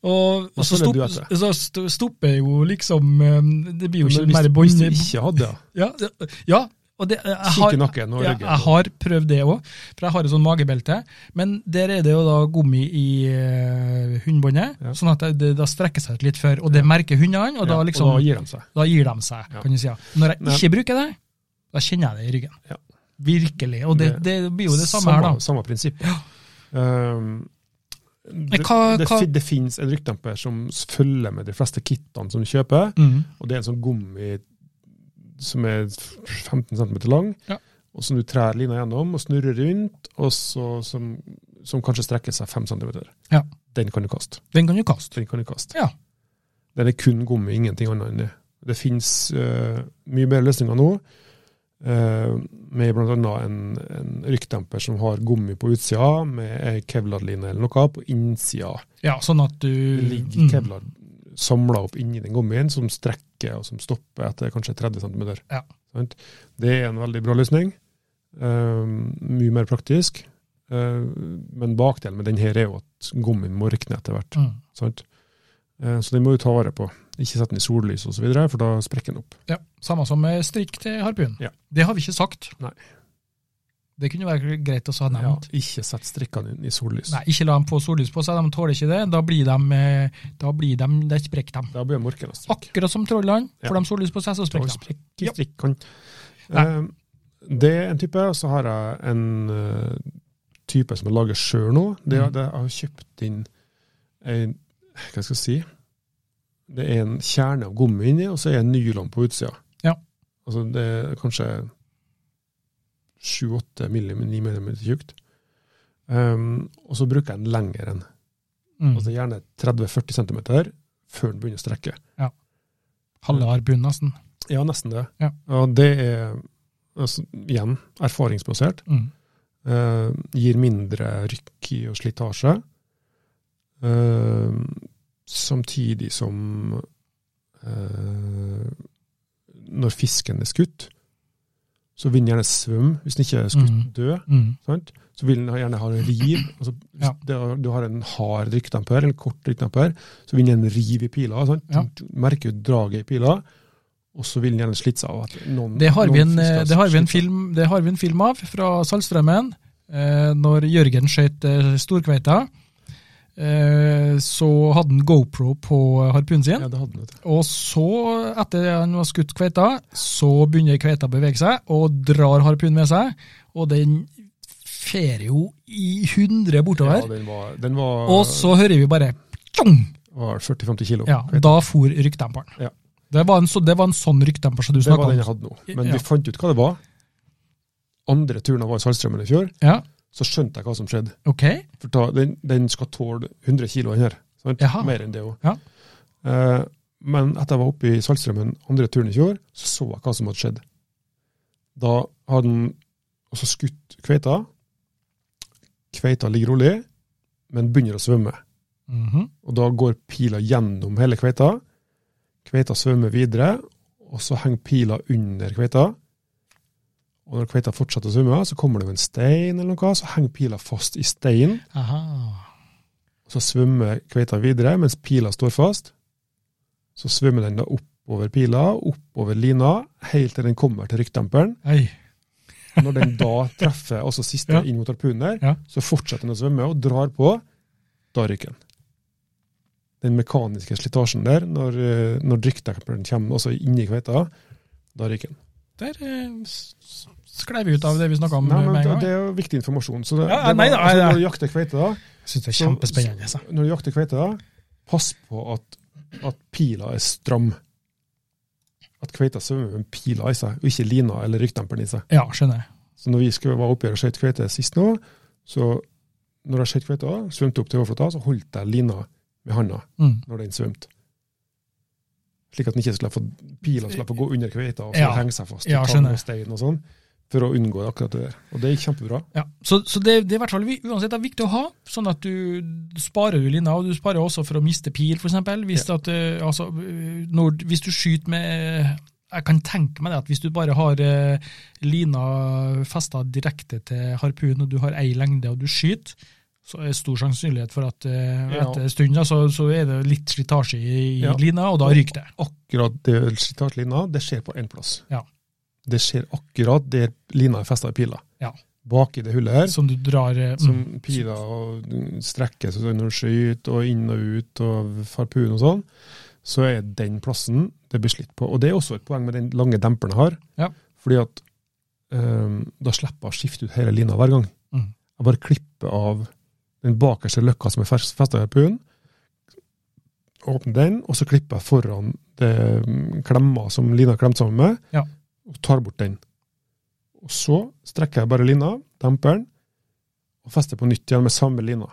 Og, og så,
følger du
stopp, så st- stopper jo liksom eh, Det blir jo ikke mer
Men hvis,
bånd.
hvis du ikke hadde det,
Ja, ja, ja, og det, jeg,
kikk
har,
i nakken og
ja,
ryggen.
jeg har prøvd det òg, for jeg har et sånn magebelte. Men der er det jo da gummi i eh, hundebåndet,
Ja.
sånn at det, det, da strekker seg ut litt før. Og det merker hundene, og da
Ja,
liksom
og da gir de seg.
Da gir de seg,
Ja.
kan du si. ja. Når jeg
Men-
ikke bruker det, da kjenner jeg det i ryggen.
Ja.
Virkelig. Og det, det blir jo det samme, her, da.
Samme prinsipp. Um, det,
hva-
det,
hva-
fin- det finnes en rykkdemper som følger med de fleste kittene som du kjøper,
Mm.
og det er en sånn gummi som er 15 cm lang,
Ja.
og som du trær lina gjennom og snurrer rundt, og så, som, som kanskje strekker seg 5 cm.
Ja.
Den kan du kaste.
Den kan du kaste.
Den kan du kaste.
Ja.
Den er kun gummi, ingenting annet enn det. Det finnes eh, mye bedre løsninger nå, eh, med bl.a. en, en rykkdemper som har gummi på utsida, med ei kevlarline eller noe på innsida.
Ja, sånn at du Mm.
Det ligger kevlar samla opp inni den gummien, som strekker og som stopper etter kanskje 30 cm.
Ja.
Sant? Det er en veldig bra løsning. Eh, mye mer praktisk. Eh, men bakdelen med den her er jo at gummien må rykne etter hvert.
Mm. Mm.
Sant? Eh, Så den må du ta vare på. Ikke sette den i sollys osv., for da sprekker den opp.
Ja, Samme som med strikk til harpun.
Ja.
Det har vi ikke sagt.
Nei.
Det kunne være greit å ha
Ja,
nevnt.
ikke sett strikkene dine i sollys.
Nei, ikke la dem på sollys på seg, de tåler ikke det. Da blir de, eh, da blir de, de sprekker de.
Da blir det morken av strikk.
Akkurat som trollene,
Ja.
får de sollys på seg, så
Da
sprekker de.
sprekker
Ja.
strikkene. Eh, Det er en type, og så har jeg en eh, type som jeg lager sjøl nå. Det er,
Mm.
det er- jeg har kjøpt inn en Hva skal jeg si? Det er en kjerne av gummi inni, og så er det en nylon på utsida.
Ja.
Altså det er kanskje 7-8 millimeter tjukt. Um, og så bruker jeg en lengre en.
Mm.
Altså gjerne 30-40 cm før den begynner å strekke.
Halve harpun, nesten.
Ja, nesten det.
Ja.
Og det er altså, igjen erfaringsbasert.
Mm.
Eh, gir mindre rykk i og slitasje. Eh, samtidig som eh, når fisken er skutt, så vil den gjerne svømme, hvis den ikke er skutt
Mhm.
død.
Mm.
Sant? Så vil den ha- gjerne ha en riv. Altså, hvis
Ja.
det er- du har en hard rykkdemper, eller en kort rykkdemper, så vil den en riv i pila. Sant?
Ja.
Du merker jo draget i pila, og så vil den gjerne slite seg av. At noen,
Det har,
noen
vi en, eh,
fisker
det, har vi en
sliter seg.
film, det har vi en film av fra Saltstraumen. Eh, når Jørgen skjøt eh, storkveita, eh, så hadde han GoPro på harpunen sin.
Ja, det hadde den, vet du.
Og så, etter han var skutt kveita, så begynner kveita å bevege seg og drar harpunen med seg. Og den fer jo i 100 bortover,
den var, den var,
og så hører vi bare tjong!
var 40-50 kilo.
Ja,
det
da for rykkdemperen.
Ja.
Det, var en så, det var en sånn rykkdemper som du
var
snakka om.
den jeg hadde nå. Men
Ja.
vi fant ut hva det var. Andre turen jeg var i Saltstraumen i fjor,
Ja,
så skjønte jeg hva som skjedde.
ok.
For da, den, den skal tåle 100 kilo, den her. Sant?
Jaha.
Mer enn det òg.
Ja.
Eh, men etter jeg var oppe i Saltstraumen andre turen i fjor, så så jeg hva som hadde skjedd. Da hadde han altså skutt kveita. Kveita ligger rolig, men begynner å svømme.
Mhm.
Og da går pila gjennom hele kveita. Kveita svømmer videre, og så henger pila under kveita. Og når kveita fortsetter å svømme, så kommer det jo en stein eller noe, så henger pila fast i steinen.
Aha.
Og Så svømmer kveita videre mens pila står fast. Så svømmer den da oppover pila, oppover lina, helt til den kommer til rykkdemperen.
Ei.
Når den da treffer altså siste
Ja.
inn mot harpunen der,
Ja.
så fortsetter den å svømme og drar på. Da ryker den. Den mekaniske slitasjen der, når, eh, når rykkdemperen kommer altså inni kveita, da ryker den.
Der eh, s- s- sklei vi ut av det vi snakka om
Nei, men
med en
det,
gang.
det er jo viktig informasjon. Så det,
Ja,
det
nei,
var,
nei,
altså,
nei.
når du jakter kveita, da,
Jeg syns det er
Så-
kjempespennende. altså. Så.
når du jakter kveite, da, pass på at, at pila er stram. At kveita svømmer med pila i seg, og ikke lina eller rykkdemperen i seg.
Ja, skjønner jeg.
Så når vi skulle være oppe her og skjøt kveite sist nå, så når jeg skjøt kveita, svømte opp til overflata, så holdt jeg lina med handa
Mm.
når den svømte. Slik at den ikke skulle få pila skulle få gå under kveita og så
Ja.
henge seg fast i
Ja,
tang
skjønner.
og stein og sånn, for å unngå akkurat det der. Og det gikk kjempebra.
Ja, så, så det, det er i hvert fall vi- uansett det er viktig å ha, sånn at du sparer du lina, og du sparer også for å miste pil, f.eks. Hvis, at, eh, altså, eh, når- hvis du skyter med Jeg kan tenke meg det at hvis du bare har eh, lina festa direkte til harpunen, og du har ei lengde og du skyter, så er det stor sannsynlighet for at eh,
Ja.
etter en stund ja, så, så er det litt slitasje i, i
Ja.
lina, og da ryker det.
akkurat det slitasjelina, det skjer på én plass.
Ja.
Det skjer akkurat der lina er festa i pila.
Ja.
Bak i det hullet her,
Som du drar eh,
som
mm,
pila og strekker seg når du skyter, og inn og ut, og farpuen og sånn, så er den plassen det blir slitt på. Og det er også et poeng med den lange demperen jeg har.
Ja.
Fordi at ehm, da slipper jeg å skifte ut hele lina hver gang.
Mm.
Jeg bare klipper av den bakerste løkka som er festa i harpunen, åpner den, og så klipper jeg foran det mm, klemma som lina er klemt sammen med,
Ja.
og tar bort den. Og så strekker jeg bare lina, demper den, og fester på nytt igjen med samme lina.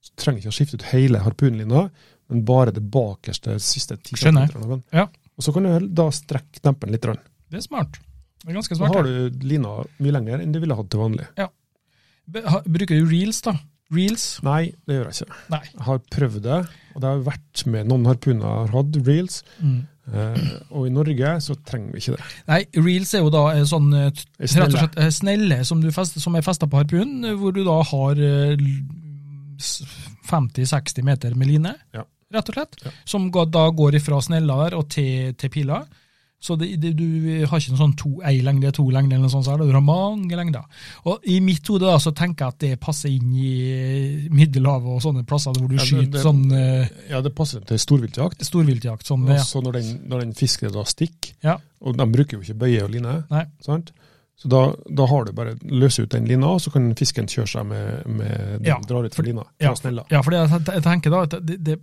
Så trenger jeg ikke å skifte ut hele harpunlina, men bare det bakerste siste 10
Skjønner.
centimeteren av den.
Ja.
Og så kan du da strekke dempen litt. grann.
Det er smart. Det er ganske
Da
smart.
har
det.
du lina mye lenger enn du ville hatt til vanlig.
Be- ha- Bruker du reels, da? Reels?
Nei, det gjør jeg ikke.
Nei.
Jeg har prøvd det, og det har vært med noen harpuner jeg har hatt, reels,
Mm.
eh, og i Norge så trenger vi ikke det.
Nei, reels er jo da eh, sånn eh, t-
Det
rett
er
og
snelle.
slett eh, snelle som, du fest, som er festa på harpunen, eh, hvor du da har eh, l- s- 50-60 meter med line,
Ja.
rett og slett,
Ja.
som ga- da går ifra snella der og til, til pila. Så det, det, du har ikke noen sånn to, ei lengde, to lengde eller noe sånt, så er det- du har mange lengder. Og i mitt hode da, så tenker jeg at det passer inn i eh, Middelhavet og sånne plasser hvor du
Ja, det-
skyter
det-
sånn eh,
Ja, det passer til storviltjakt.
storviltjakt. Sånn,
Og
ja.
så når den, når den fisken da stikker,
Ja.
og de bruker jo ikke bøye og line,
Nei.
sant? så da, da har du bare løse ut den lina, og så kan fisken kjøre seg med, med
Ja,
drar ut
for-
for lina.
ja.
fra snella.
Ja, for jeg jeg tenker da at det, det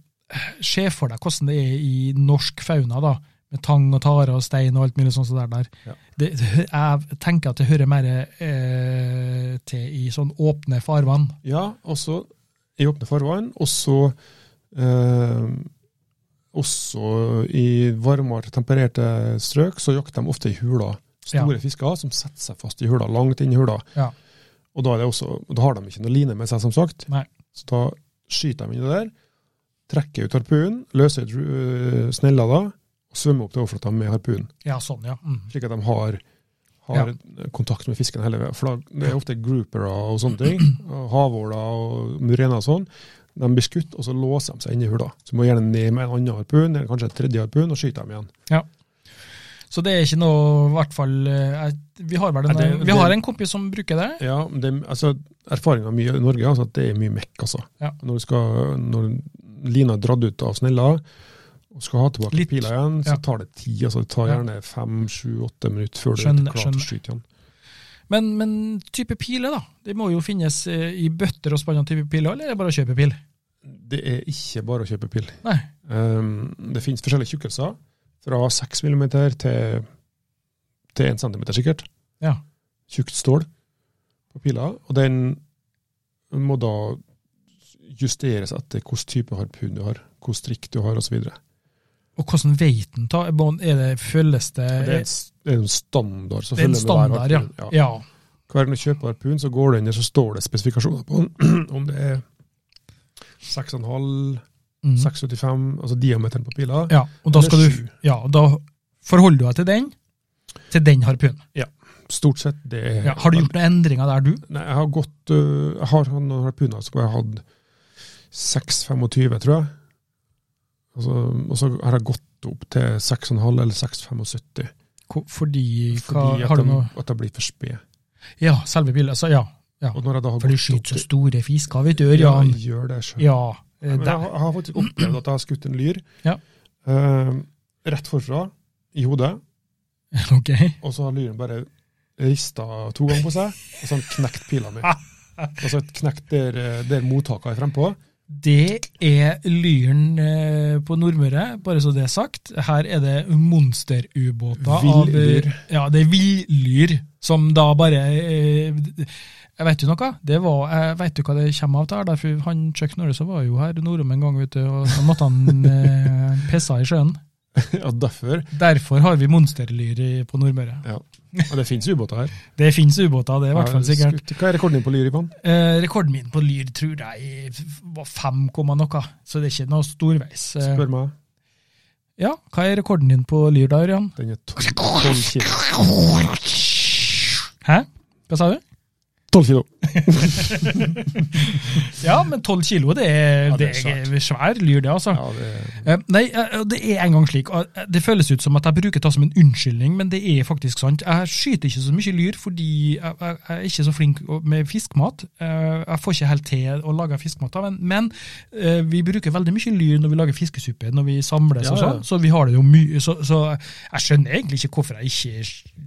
Se for deg hvordan det er i norsk fauna, da. Med tang og tare og stein og alt mulig sånt. som det er der.
Ja.
Det, det- jeg tenker at det hører mer eh, til i sånn åpne farvann.
Ja, og så i åpne farvann, og så eh, også i varmere tempererte strøk, så jakter de ofte i hula. Store fisker som setter seg fast i hula, langt inn i hula.
Ja.
Og da, er det også, og da har de ikke noe line med seg, som sagt.
Nei.
Så da skyter de inn i det der, trekker ut harpunen, løser ut øh, snella da, og svømmer opp til overflata med harpunen.
Ja, sånn, ja. Mm.
Slik at de har, har kontakt med fisken hele veien. For da, det er ofte groupere og sånne ting. og Havåler og murener og sånn. De blir skutt, og så låser de seg inn i hula. Så må de gjerne ned med en annen harpun, eller kanskje en tredje harpun, og skyte dem igjen.
Så det er ikke noe, i hvert fall eh, jeg- Vi har vel en,
Nei, det-
vi har
det-
en kompis som bruker det.
Ja, men det, altså, Erfaringa mi i Norge er altså, at det er mye mekk. altså.
Ja.
Når, du skal, når lina er dratt ut av snella, og skal ha tilbake
Litt.
pila igjen, så
Ja.
tar det tid. altså Det tar
Ja.
gjerne fem, sju, åtte minutter før du
Skjønner,
er klar til
skjønner.
å skyte igjen.
Men, men type piler, da? Det må jo finnes eh, i bøtter og spann av type piler, eller er det bare å kjøpe pil?
Det er ikke bare å kjøpe pil.
Nei.
Um, det finnes forskjellige tjukkelser, fra 6 mm til, til 1 cm sikkert.
Ja.
Tjukt stål på pila, og den må da justeres etter hvilken type harpun du har, hvilken strikk du har osv.
Og hvordan veit den ta? Er det følges det
Det er en s- det er en standard som
det er en
følger med hver
standard, ja.
harpun. Ja.
ja.
Hver gang du kjøper harpun, så går det inn der, så står det spesifikasjoner på den. Om det er 6,5,
Mm.
6,75, altså diameteren på pila.
ja. Og da,
eller
skal du,
sju.
ja, og da forholder du deg til den, til den harpunen.
Stort sett det er
Ja. Har du gjort noen endringer der, du?
Nei, jeg har gått øh, Jeg har hatt noen harpuner som jeg hadde 6,25, tror jeg. Altså, og så har jeg gått opp til 6,5 eller 6,75.
Ko- Fordi, hva,
Fordi at,
har du
de,
noe
at jeg blir for sped.
Ja, selve bilen. Altså, ja.
Og når jeg da har
For du
gått opp
skyter så
til-
store fisker, vet du,
Ja,
Ørjan.
jeg gjør det sjøl.
Ja. eh,
Men jeg,
der.
har- jeg har faktisk opplevd at jeg har skutt en lyr
Ja.
eh, rett forfra, i hodet,
Ok.
og så har lyren bare rista to ganger på seg, og så har den knekt pila mi. Altså knekt der, eh, der mottaket er frempå.
Det er Lyren eh, på Nordmøre, bare så det er sagt. Her er det monsterubåter. av- eh,
Villlyr.
Ja, det er villyr, som da bare eh, Jeg vet jo noe. Det var, jeg vet jo hva det kommer av der, derfor han Chuck Norris var jo her nordom en gang, vet du, og så måtte han eh, pisse i sjøen.
Ja, derfor.
Derfor har vi monsterlyr i- på Nordmøre.
Ja. Og det finnes ubåter her.
Det fins ubåter, det er i hvert
Ja,
fall sikkert.
skutt- Hva er rekorden din på lyr, Ivan?
Eh, rekorden min på lyr tror jeg var 5, komma noe, så det er ikke noe storveis. Eh,
Spør meg.
Ja, hva er rekorden din på lyr da, Ørjan?
Den er 12 kilo.
Hæ? Hva sa du?
12 kilo.
Ja, men 12 kilo, det er,
Ja,
det
det er
er, svær lyr det, altså.
Ja, det er
Eh, Nei, eh, det er en gang slik. og, eh, Det føles ut som at jeg bruker det som en unnskyldning, men det er faktisk sant. Jeg skyter ikke så mye lyr fordi jeg, jeg, jeg er ikke så flink å- med fiskmat. Eh, Jeg får ikke helt til å lage fiskmat av den, men eh, vi bruker veldig mye lyr når vi lager fiskesuppe, når vi samles
Ja,
og
ja.
sånn, så vi har det jo mye. Så, så jeg skjønner egentlig ikke hvorfor jeg ikke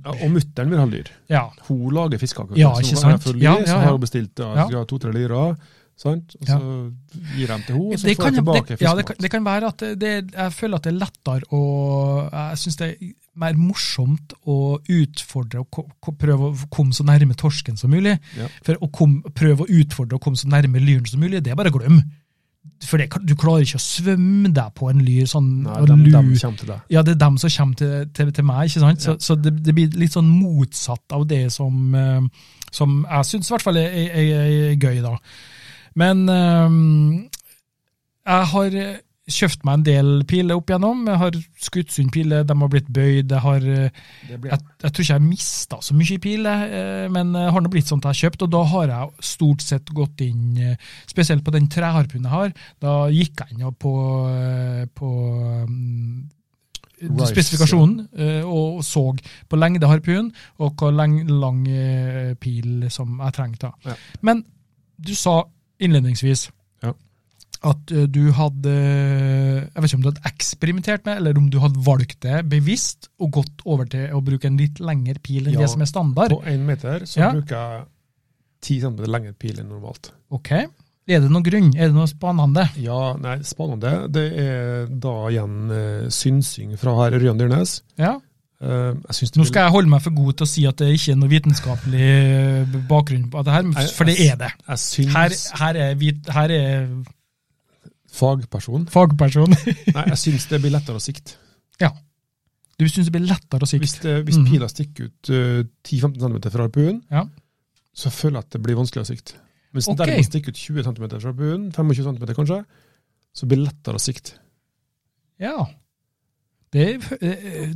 ja, og mutter'n vil ha lyr.
Ja.
Hun lager fiskekaker.
Ja,
Så
ikke
hun har
sant?
full Lyr,
Ja, ja,
Så
ja.
har hun bestilt ja,
Ja.
skal ha to-tre lyrer. Sant? Og så gir de til henne, og så
Det
får
kan,
hun tilbake
det, ja, det, kan,
fiskemat.
det kan være at det, det- jeg føler at det er lettere å Jeg syns det er mer morsomt å utfordre og ko, ko, prøve å komme så nærme torsken som mulig.
Ja.
For å kom, prøve å utfordre og komme så nærme lyren som mulig, det er bare å glemme. For det, kan- du klarer ikke å svømme deg på en lyr sånn
Nei,
og
de, de
lure-
kommer til deg.
ja, det er dem som kommer til, til, til meg, ikke sant? Så, så det, det blir litt sånn motsatt av det som, eh, som jeg syns i hvert fall er, er, er gøy, da. Men eh, jeg har kjøpt meg en del piler opp igjennom. Jeg har skutt sund piler, de har blitt bøyd. Jeg, har, eh,
Det blir
jeg, jeg tror ikke jeg mista så mye piler, eh, men det har nå blitt sånn at jeg har kjøpt, og da har jeg stort sett gått inn, eh, spesielt på den treharpunen jeg har, da gikk jeg inn og på, eh, på mm,
Rice,
spesifikasjonen eh, og så på lengde harpun og hvor leng, lang eh, pil som jeg trengte.
Ja.
Men du sa innledningsvis
Ja.
at eh, du hadde Jeg vet ikke om du hadde eksperimentert med, eller om du hadde valgt det bevisst og gått over til å bruke en litt lengre pil enn
Ja.
det som er standard.
På én meter så
Ja.
bruker jeg 10 cm lengre pil enn normalt.
Ok. Er det noen grunn? Er det noe spennende?
Ja, nei, spennende. Det er da igjen eh, synsing fra herr Ørjan Dyrnes.
Ja.
Eh, jeg syns det
Nå
blir-
skal jeg holde meg for god til å si at det ikke er noe vitenskapelig eh, bakgrunn på det her, for det
altså,
er det.
jeg syns
Her, her, er, vit, her er
fagperson
fagperson.
Nei, jeg syns det blir lettere å sikte.
Du syns det blir lettere å sikte?
Hvis, det, hvis
Mhm.
pila stikker ut eh, 10-15 cm fra harpunen,
Ja.
så føler jeg at det blir vanskelig å sikte. Hvis
Ok.
den derimot stikker ut 20 cm fra harpunen, 25 cm kanskje, så blir det lettere å sikte.
Ja. Det,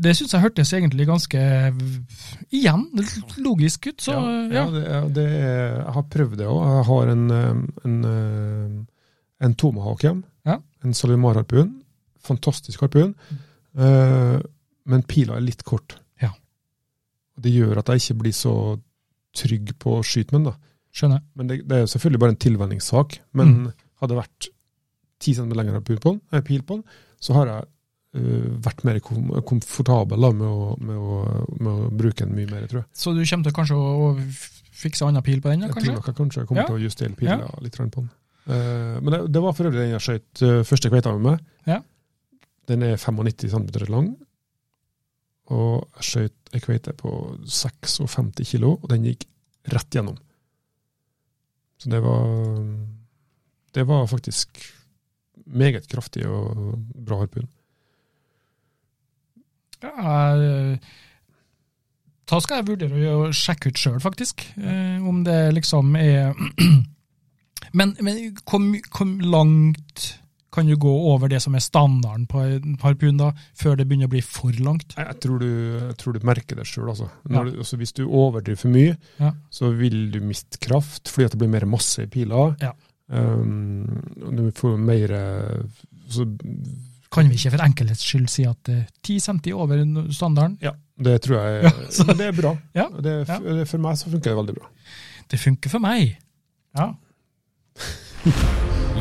det syns jeg hørtes egentlig ganske Igjen, logisk ut, så ja.
ja, det, er- det er, jeg har prøvd det òg. Jeg har en, eh, en, eh, en tomahawk hjem.
Ja.
En Salimar-harpun. Fantastisk harpun. Eh, men pila er litt kort.
Ja.
Og Det gjør at jeg ikke blir så trygg på å skyte med den. da.
Skjønner.
Men det, det er jo selvfølgelig bare en tilvenningssak. Men hadde det vært 10 cm lengre pil på den, eh, pil på den så har jeg eh, vært mer kom komfortabel da, med, å, med, å, med å bruke den mye mer, tror jeg.
Så du kommer til kanskje å å fikse annen pil på den, da,
Jeg
kanskje?
tror nok jeg kanskje kommer
Ja.
til å justere pila litt grann på den. Eh, men det, det var for øvrig den jeg skjøt eh, første kveita med meg.
Ja.
Den er 95 cm lang. Og jeg skjøt ei kveite på 56 kilo, og den gikk rett gjennom. Så det var Det var faktisk meget kraftig og bra harpun.
Ja, eh, da skal jeg vurdere å gjøre- sjekke ut sjøl, faktisk. eh, Om det liksom er Men, men hvor my- hvor langt kan du gå over det som er standarden på en harpun, da, før det begynner å bli for langt?
Jeg jeg tror du, jeg tror du merker det sjøl. Altså.
Ja.
Når du- altså, hvis du overdriver for mye,
Ja.
så vil du miste kraft fordi at det blir mer masse i pila.
Ja.
Um, og du får mer eh, så,
Kan vi ikke for enkelhets skyld si at eh, 10 cm over standarden?
Ja, det tror jeg
Ja, så-
Men Det er bra.
Ja,
Det, er f-
ja.
det, for meg så funker det veldig bra.
Det funker for meg. Ja.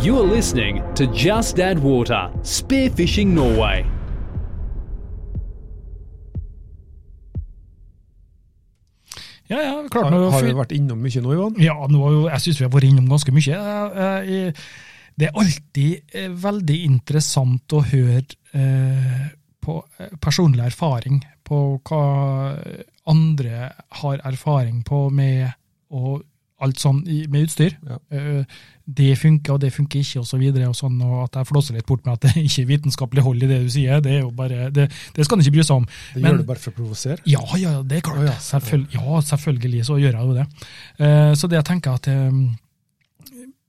You are listening to Just Add Water Spearfishing Norway.
Ja, ja, klart
Har,
nå
har vi
fyr-
vært innom mye nå, Ivan?
Ja, nå, har jo- jeg syns vi har vært innom ganske mye. Jeg- jeg- Det er alltid eh, veldig interessant å høre eh, på eh, personlig erfaring, på hva andre har erfaring på med og alt sånn i- med utstyr.
Ja.
Eh, Det funker, og det funker ikke, og så videre. Og sånn, og at jeg flåser litt bort med at det ikke er vitenskapelig hold i det du sier, det, er jo bare, det, det skal en ikke bry seg om.
Det
Men-
gjør du bare for å provosere?
ja, ja, det er klart.
Å, ja.
Selvfølgelig, ja, selvfølgelig så gjør jeg jo det. Eh, så det jeg tenker at eh,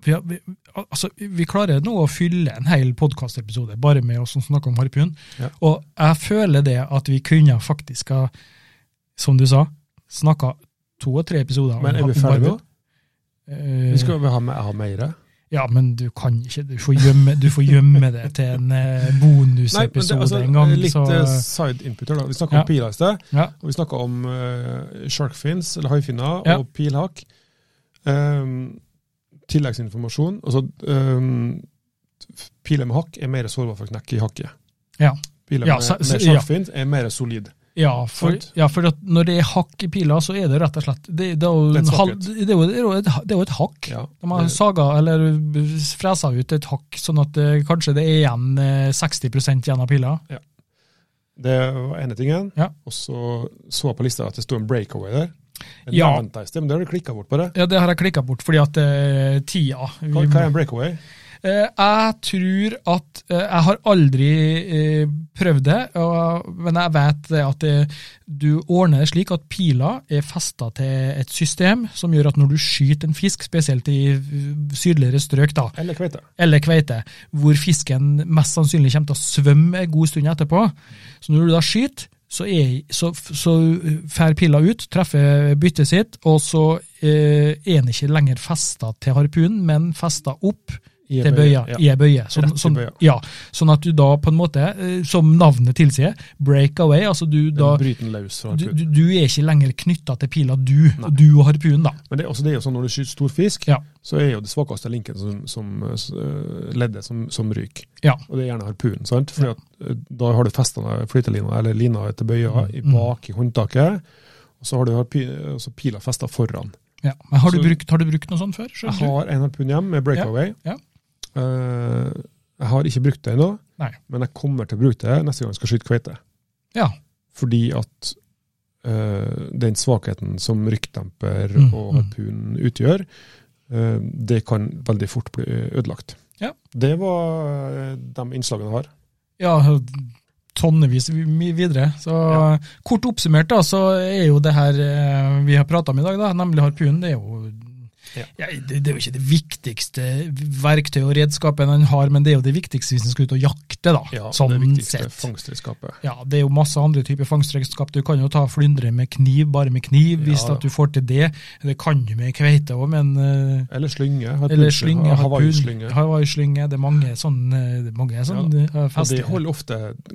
vi, har- vi, al- altså, vi klarer nå å fylle en hel podkastepisode bare med å snakke om harpun.
Ja.
Og jeg føler det at vi kunne faktisk ha, som du sa, snakka to og tre episoder. om
Men er
harpun.
vi ferdige nå?
Eh,
Vi skal vi ha med, jeg har mer.
Ja, men du kan ikke Du får gjemme, du får gjemme det til en eh,
Nei, men det,
bonusepisode
altså,
en gang.
litt
så,
eh, side input her. da. Vi snakka
Ja.
om pila i sted.
ja.
Og vi snakka om eh, sharkfins, eller haifinner,
Ja.
og pilhakk. Ehm, tilleggsinformasjon. Altså, ehm, piler med hakk er mer sårbar for knekk i hakket.
Ja.
Piler
Ja,
med,
så- så-
med
ja.
sharkfins er mer solid.
Ja, for,
Sant?
ja, for at når det er hakk i pila, så er det rett og slett Det, det, er, jo
Det er
en
et
halv,
sagbrudd.
det, er, jo, det, er, jo et, det er jo et hakk.
Ja.
De har saga eller fresa ut et hakk, sånn at eh, kanskje det er igjen eh, 60 igjen av pila.
Det var ene tingen.
Ja.
Og så så jeg på lista at det sto en breakaway der. Den
Ja.
nevnte jeg i sted, men det har du klikka bort på det.
Ja, det har jeg klikka bort, fordi at eh, tida
Hva, hva er en breakaway?
Eh, jeg tror at eh, Jeg har aldri eh, prøvd det, og, men jeg vet det at det, du ordner det slik at pila er festa til et system som gjør at når du skyter en fisk, spesielt i eh, sydligere strøk, da,
Eller kveite?
eller kveite, hvor fisken mest sannsynlig kommer til å svømme en god stund etterpå. Så når du da skyter, så, er, så, så fer pila ut, treffer byttet sitt, og så eh, er den ikke lenger festa til harpunen, men festa opp
I en
til
bøye,
bøya,
ja.
i ei bøye. Sånn,
Rett i
sånn,
bøya.
ja, sånn at du da på en måte, eh, som navnet tilsier, break away, altså du
Da,
da
bryter den løs. fra
du,
harpunen.
du, du er ikke lenger knytta til pila, du, du og harpunen, da.
Men det, er også, det er jo sånn når du skyter stor fisk,
Ja.
så er jo det svakeste linken som, som eh, leddet som, som ryker.
Ja.
Og det er gjerne harpunen. sant? Fordi at eh, Da har du festa flytelina eller lina etter bøya
Mm.
i bak i håndtaket, og så har du harpy, altså pila festa foran.
ja. Men har,
Så- Altså-
du brukt, har du brukt noe sånt før?
Jeg
skjønner du?
har en harpun hjemme med breakaway.
Ja, ja.
Eh, jeg har ikke brukt det ennå,
Nei.
men jeg kommer til å bruke det neste gang jeg skal skyte kveite.
Ja.
Fordi at eh, den svakheten som rykkdemper
Mm,
og
mm.
harpun utgjør, eh, det kan veldig fort bli ødelagt.
Ja.
Det var eh, de innslagene jeg har.
ja, tonnevis mye videre. Så
Ja.
kort oppsummert da, så er jo det her eh, vi har prata om i dag, da, nemlig harpunen, det er jo
Ja.
ja, det, det er jo ikke det viktigste verktøyet og redskapen han har, men det er jo det viktigste hvis han skal ut og jakte, da. sånn
det viktigste
sett.
fangstredskapet.
Ja, Det er jo masse andre typer fangstredskap. Du kan jo ta flyndre med kniv, bare med kniv, hvis
Ja, ja.
at du får til det. Det kan du med kveite òg, men eh,
Eller slynge.
Eller
harpunslynge,
slynge. harpun,
Hawaii-slynge.
Hawaii-slynge. Det er mange sånne, det er mange sånne eh, ja,
Og det holder ofte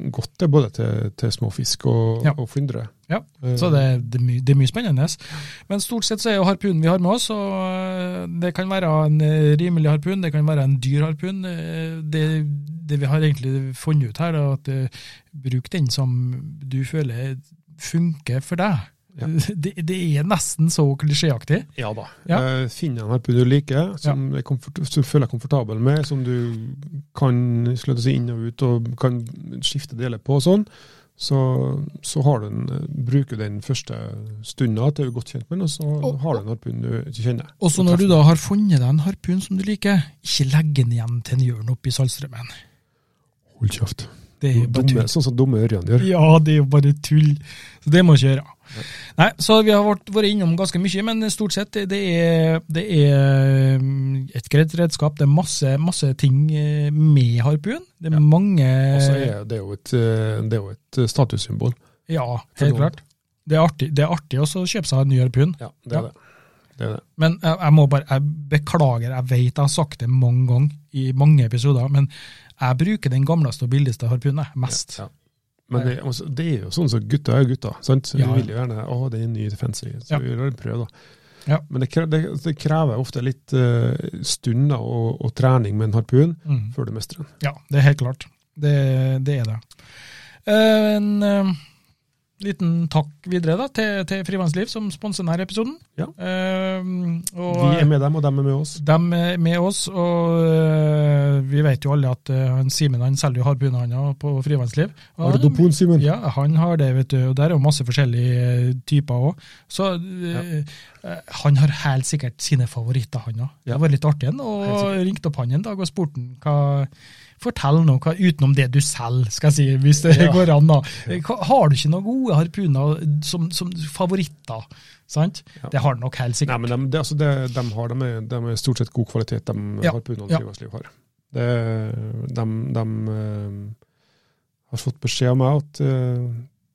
godt det, både til, til små fisk og,
Ja.
og flyndre.
Ja,
Eh,
så det, det, er my, det er mye spennende. Men stort sett så er jo harpunen vi har med oss, og eh, øh, det kan være en øh, rimelig harpun, det kan være en dyr harpun. øh, Det, det vi har egentlig funnet ut her, er at eh, bruk den som du føler funker for deg.
Ja.
Det, det er nesten så klisjéaktig.
Ja da.
Ja.
Eh, Finne en harpe du liker, som, er komfort som du føler deg komfortabel med, som du kan sløte seg inn og ut og kan skifte deler på og sånn, så, så har du en, eh, bruker du den første stunda til du er godt kjent med den, og så
Og-
har du en harpun du ikke kjenner.
Og så når du da har funnet deg en harpun som du liker, ikke legg den igjen til en hjørne oppe i Saltstraumen.
Hold kjeft.
Det er jo bare
Dumme,
tull.
sånn som dumme ørjene gjør.
Ja, det er jo bare tull. Så det må vi ikke gjøre. Nei, så vi har vært, vært innom ganske mye, men stort sett det, det, er, det er mm, et greit redskap. Det er masse, masse ting eh, med harpun. Det er
Ja.
mange
Og så er det jo et, eh, det er jo et eh, statussymbol.
Ja,
for
helt
noen.
klart. Det er artig, det er artig også å kjøpe seg en ny harpun.
Ja, det er
Ja.
det. Det er det.
Men jeg, jeg må bare, jeg beklager, jeg vet jeg har sagt det mange ganger i mange episoder, men jeg bruker den gamleste og billigste harpunen jeg, mest.
Ja. Men det, altså, det er jo sånn som gutter er gutter. sant? Så
Ja, ja.
Du vil jo gjerne å, det er ny fancy, så
Ja.
vi gjør en prøv, da.
Ja.
Men det, kre- det, det krever ofte litt eh, stunder og, og trening med en harpun
Mm.
før du mestrer den.
Ja, det er helt klart. Det, det er det. Eh, En eh, liten takk videre da, til, til Frivannsliv, som sponser denne episoden.
Ja.
Eh, og,
Vi er med dem, og dem er med oss.
De er med oss, og eh, vi vet jo alle at eh, han Simen han selger jo harpunhander på Frivannsliv. Og
Har du
han-
dopon, Simen?
Ja, han har det, vet du. Og der er jo masse forskjellige eh, typer òg. Så eh, eh, han har helt sikkert sine favoritter, han òg.
Ja.
Det var litt artig. han,
Helt
Og
sikkert.
ringte opp han en dag og spurte han hva Fortell nå, hva, utenom det du selger, skal jeg si, hvis det
Ja.
går an. da. Eh, Hva, har du ikke noen gode harpuner som, som favoritter? Sant?
Ja.
Det har han nok helt
Nei,
sikkert.
men de, det, altså, det, de har, de er, de er stort sett god kvalitet, de
Ja.
harpunene
Ja.
Frivannsliv har. Det, de de eh, har fått beskjed av meg at eh,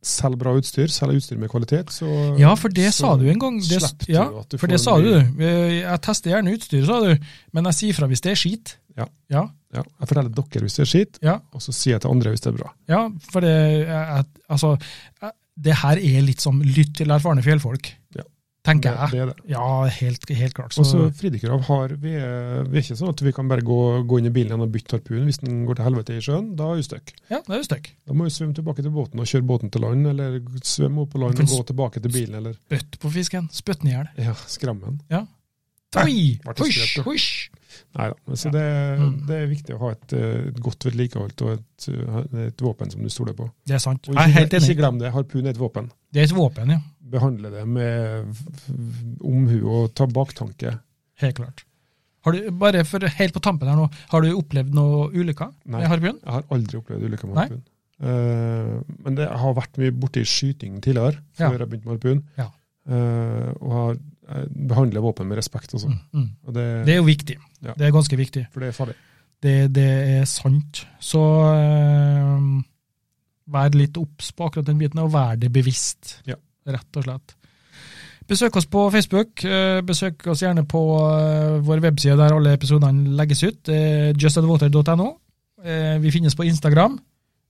selg bra utstyr, selg utstyr med kvalitet, så
Ja, for det
så
sa du en gang. Det,
slipper du
ja,
at du
for
får
det sa
mye-
du. Eh, Jeg tester gjerne utstyret, sa du, men jeg sier fra hvis det er skit.
Ja.
Ja,
Ja, jeg forteller dere hvis det er skitt,
ja.
og så sier jeg til andre hvis det er bra.
Ja, for det, eh, at- altså, eh, det her er litt som lytt til erfarne fjellfolk,
Ja.
tenker jeg.
Det, det er det.
Ja, helt, helt klart.
Og så
Så,
Fridekrav har vi er, vi er ikke sånn at vi kan bare gå, gå inn i bilen igjen og bytte harpun hvis den går til helvete i sjøen. Da er vi stuck.
ja, det er jo støkk.
Da må vi svømme tilbake til båten og kjøre båten til land, eller svømme opp på land
Men
og gå tilbake til bilen, eller
Bøtt på fisken, spøtt den i hjel.
ja, skrammen.
Oi,
Ble det
husj,
skrevet, da?
husj.
Nei da. Men Så
Ja.
det,
Mm.
det er viktig å ha et, eh, et godt vedlikeholdt og et, eh, et våpen som du stoler på.
Det er sant.
Og
Jeg er helt
ikke, ikke
enig.
glem det, harpun er et våpen.
Det er et våpen, ja.
Behandle det med f- f- omhu og ta baktanke.
Helt klart. Har du, bare for helt på tampen her nå, har du opplevd noe ulykker
Nei.
med harpien?
Jeg har aldri opplevd ulykker med
Nei.
harpun. Eh, men det har vært mye borti skyting tidligere,
Ja.
før jeg begynte med harpun.
Ja.
Eh, og har, jeg behandler våpen med respekt, altså.
Mm, mm.
Og det,
Det er jo viktig.
Ja.
Det er ganske viktig.
for det er farlig.
Det, det er sant. Så eh, vær litt obs på akkurat den biten, og vær det bevisst.
Ja.
Rett og slett. Besøk oss på Facebook. eh, Besøk oss gjerne på eh, vår webside der alle episodene legges ut. eh, Justadwater.no. Eh, Vi finnes på Instagram.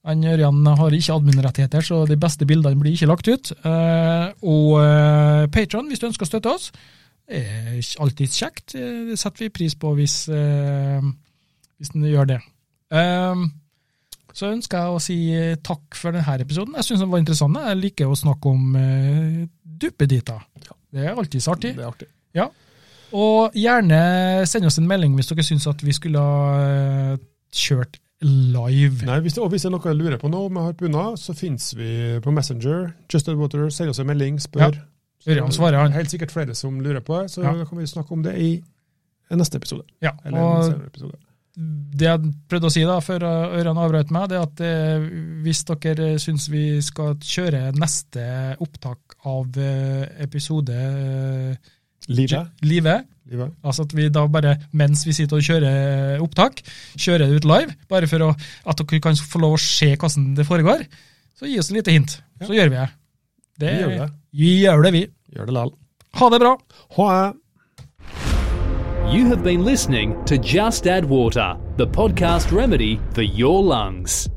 Han Ørjan har ikke adminrettigheter, så de beste bildene blir ikke lagt ut. Eh, Og Patron, hvis du ønsker å støtte oss, er alltid kjekt. Eh, Det setter vi pris på hvis eh, hvis den gjør det. Ehm, så ønsker jeg å si eh, takk for denne episoden. Jeg syns den var interessant. Jeg liker å snakke om uh, duppeditter. Det er alltid så artig.
Det er artig.
Og gjerne send oss en melding hvis dere syns at vi skulle ha eh, kjørt live.
Nei, hvis det, og hvis det er noe jeg lurer på nå med harpuner, så finnes vi på Messenger. Justed Water, send oss en melding, spør.
Ja. Ørjan svarer, han.
Det er helt sikkert flere som lurer på det, så
Ja.
da kan vi snakke om det i neste episode.
Ja,
Eller en
og
senere episode.
det jeg prøvde å si da, før eh, Ørjan avbrøt meg, det er at eh, hvis dere syns vi skal kjøre neste opptak av eh, episode eh,
Livet.
Live,
Livet.
Altså at vi da bare, mens vi sitter og kjører eh, opptak, kjører det ut live, bare for å, at dere kan få lov å se hvordan det foregår, så gi oss et lite hint.
Ja.
Så gjør vi det. det.
Vi gjør det.
Vi gjør det, vi.
Gjør det likevel.
Ha det bra!
Ha det!
You have been listening to Just Add Water, the podcast remedy for your lungs.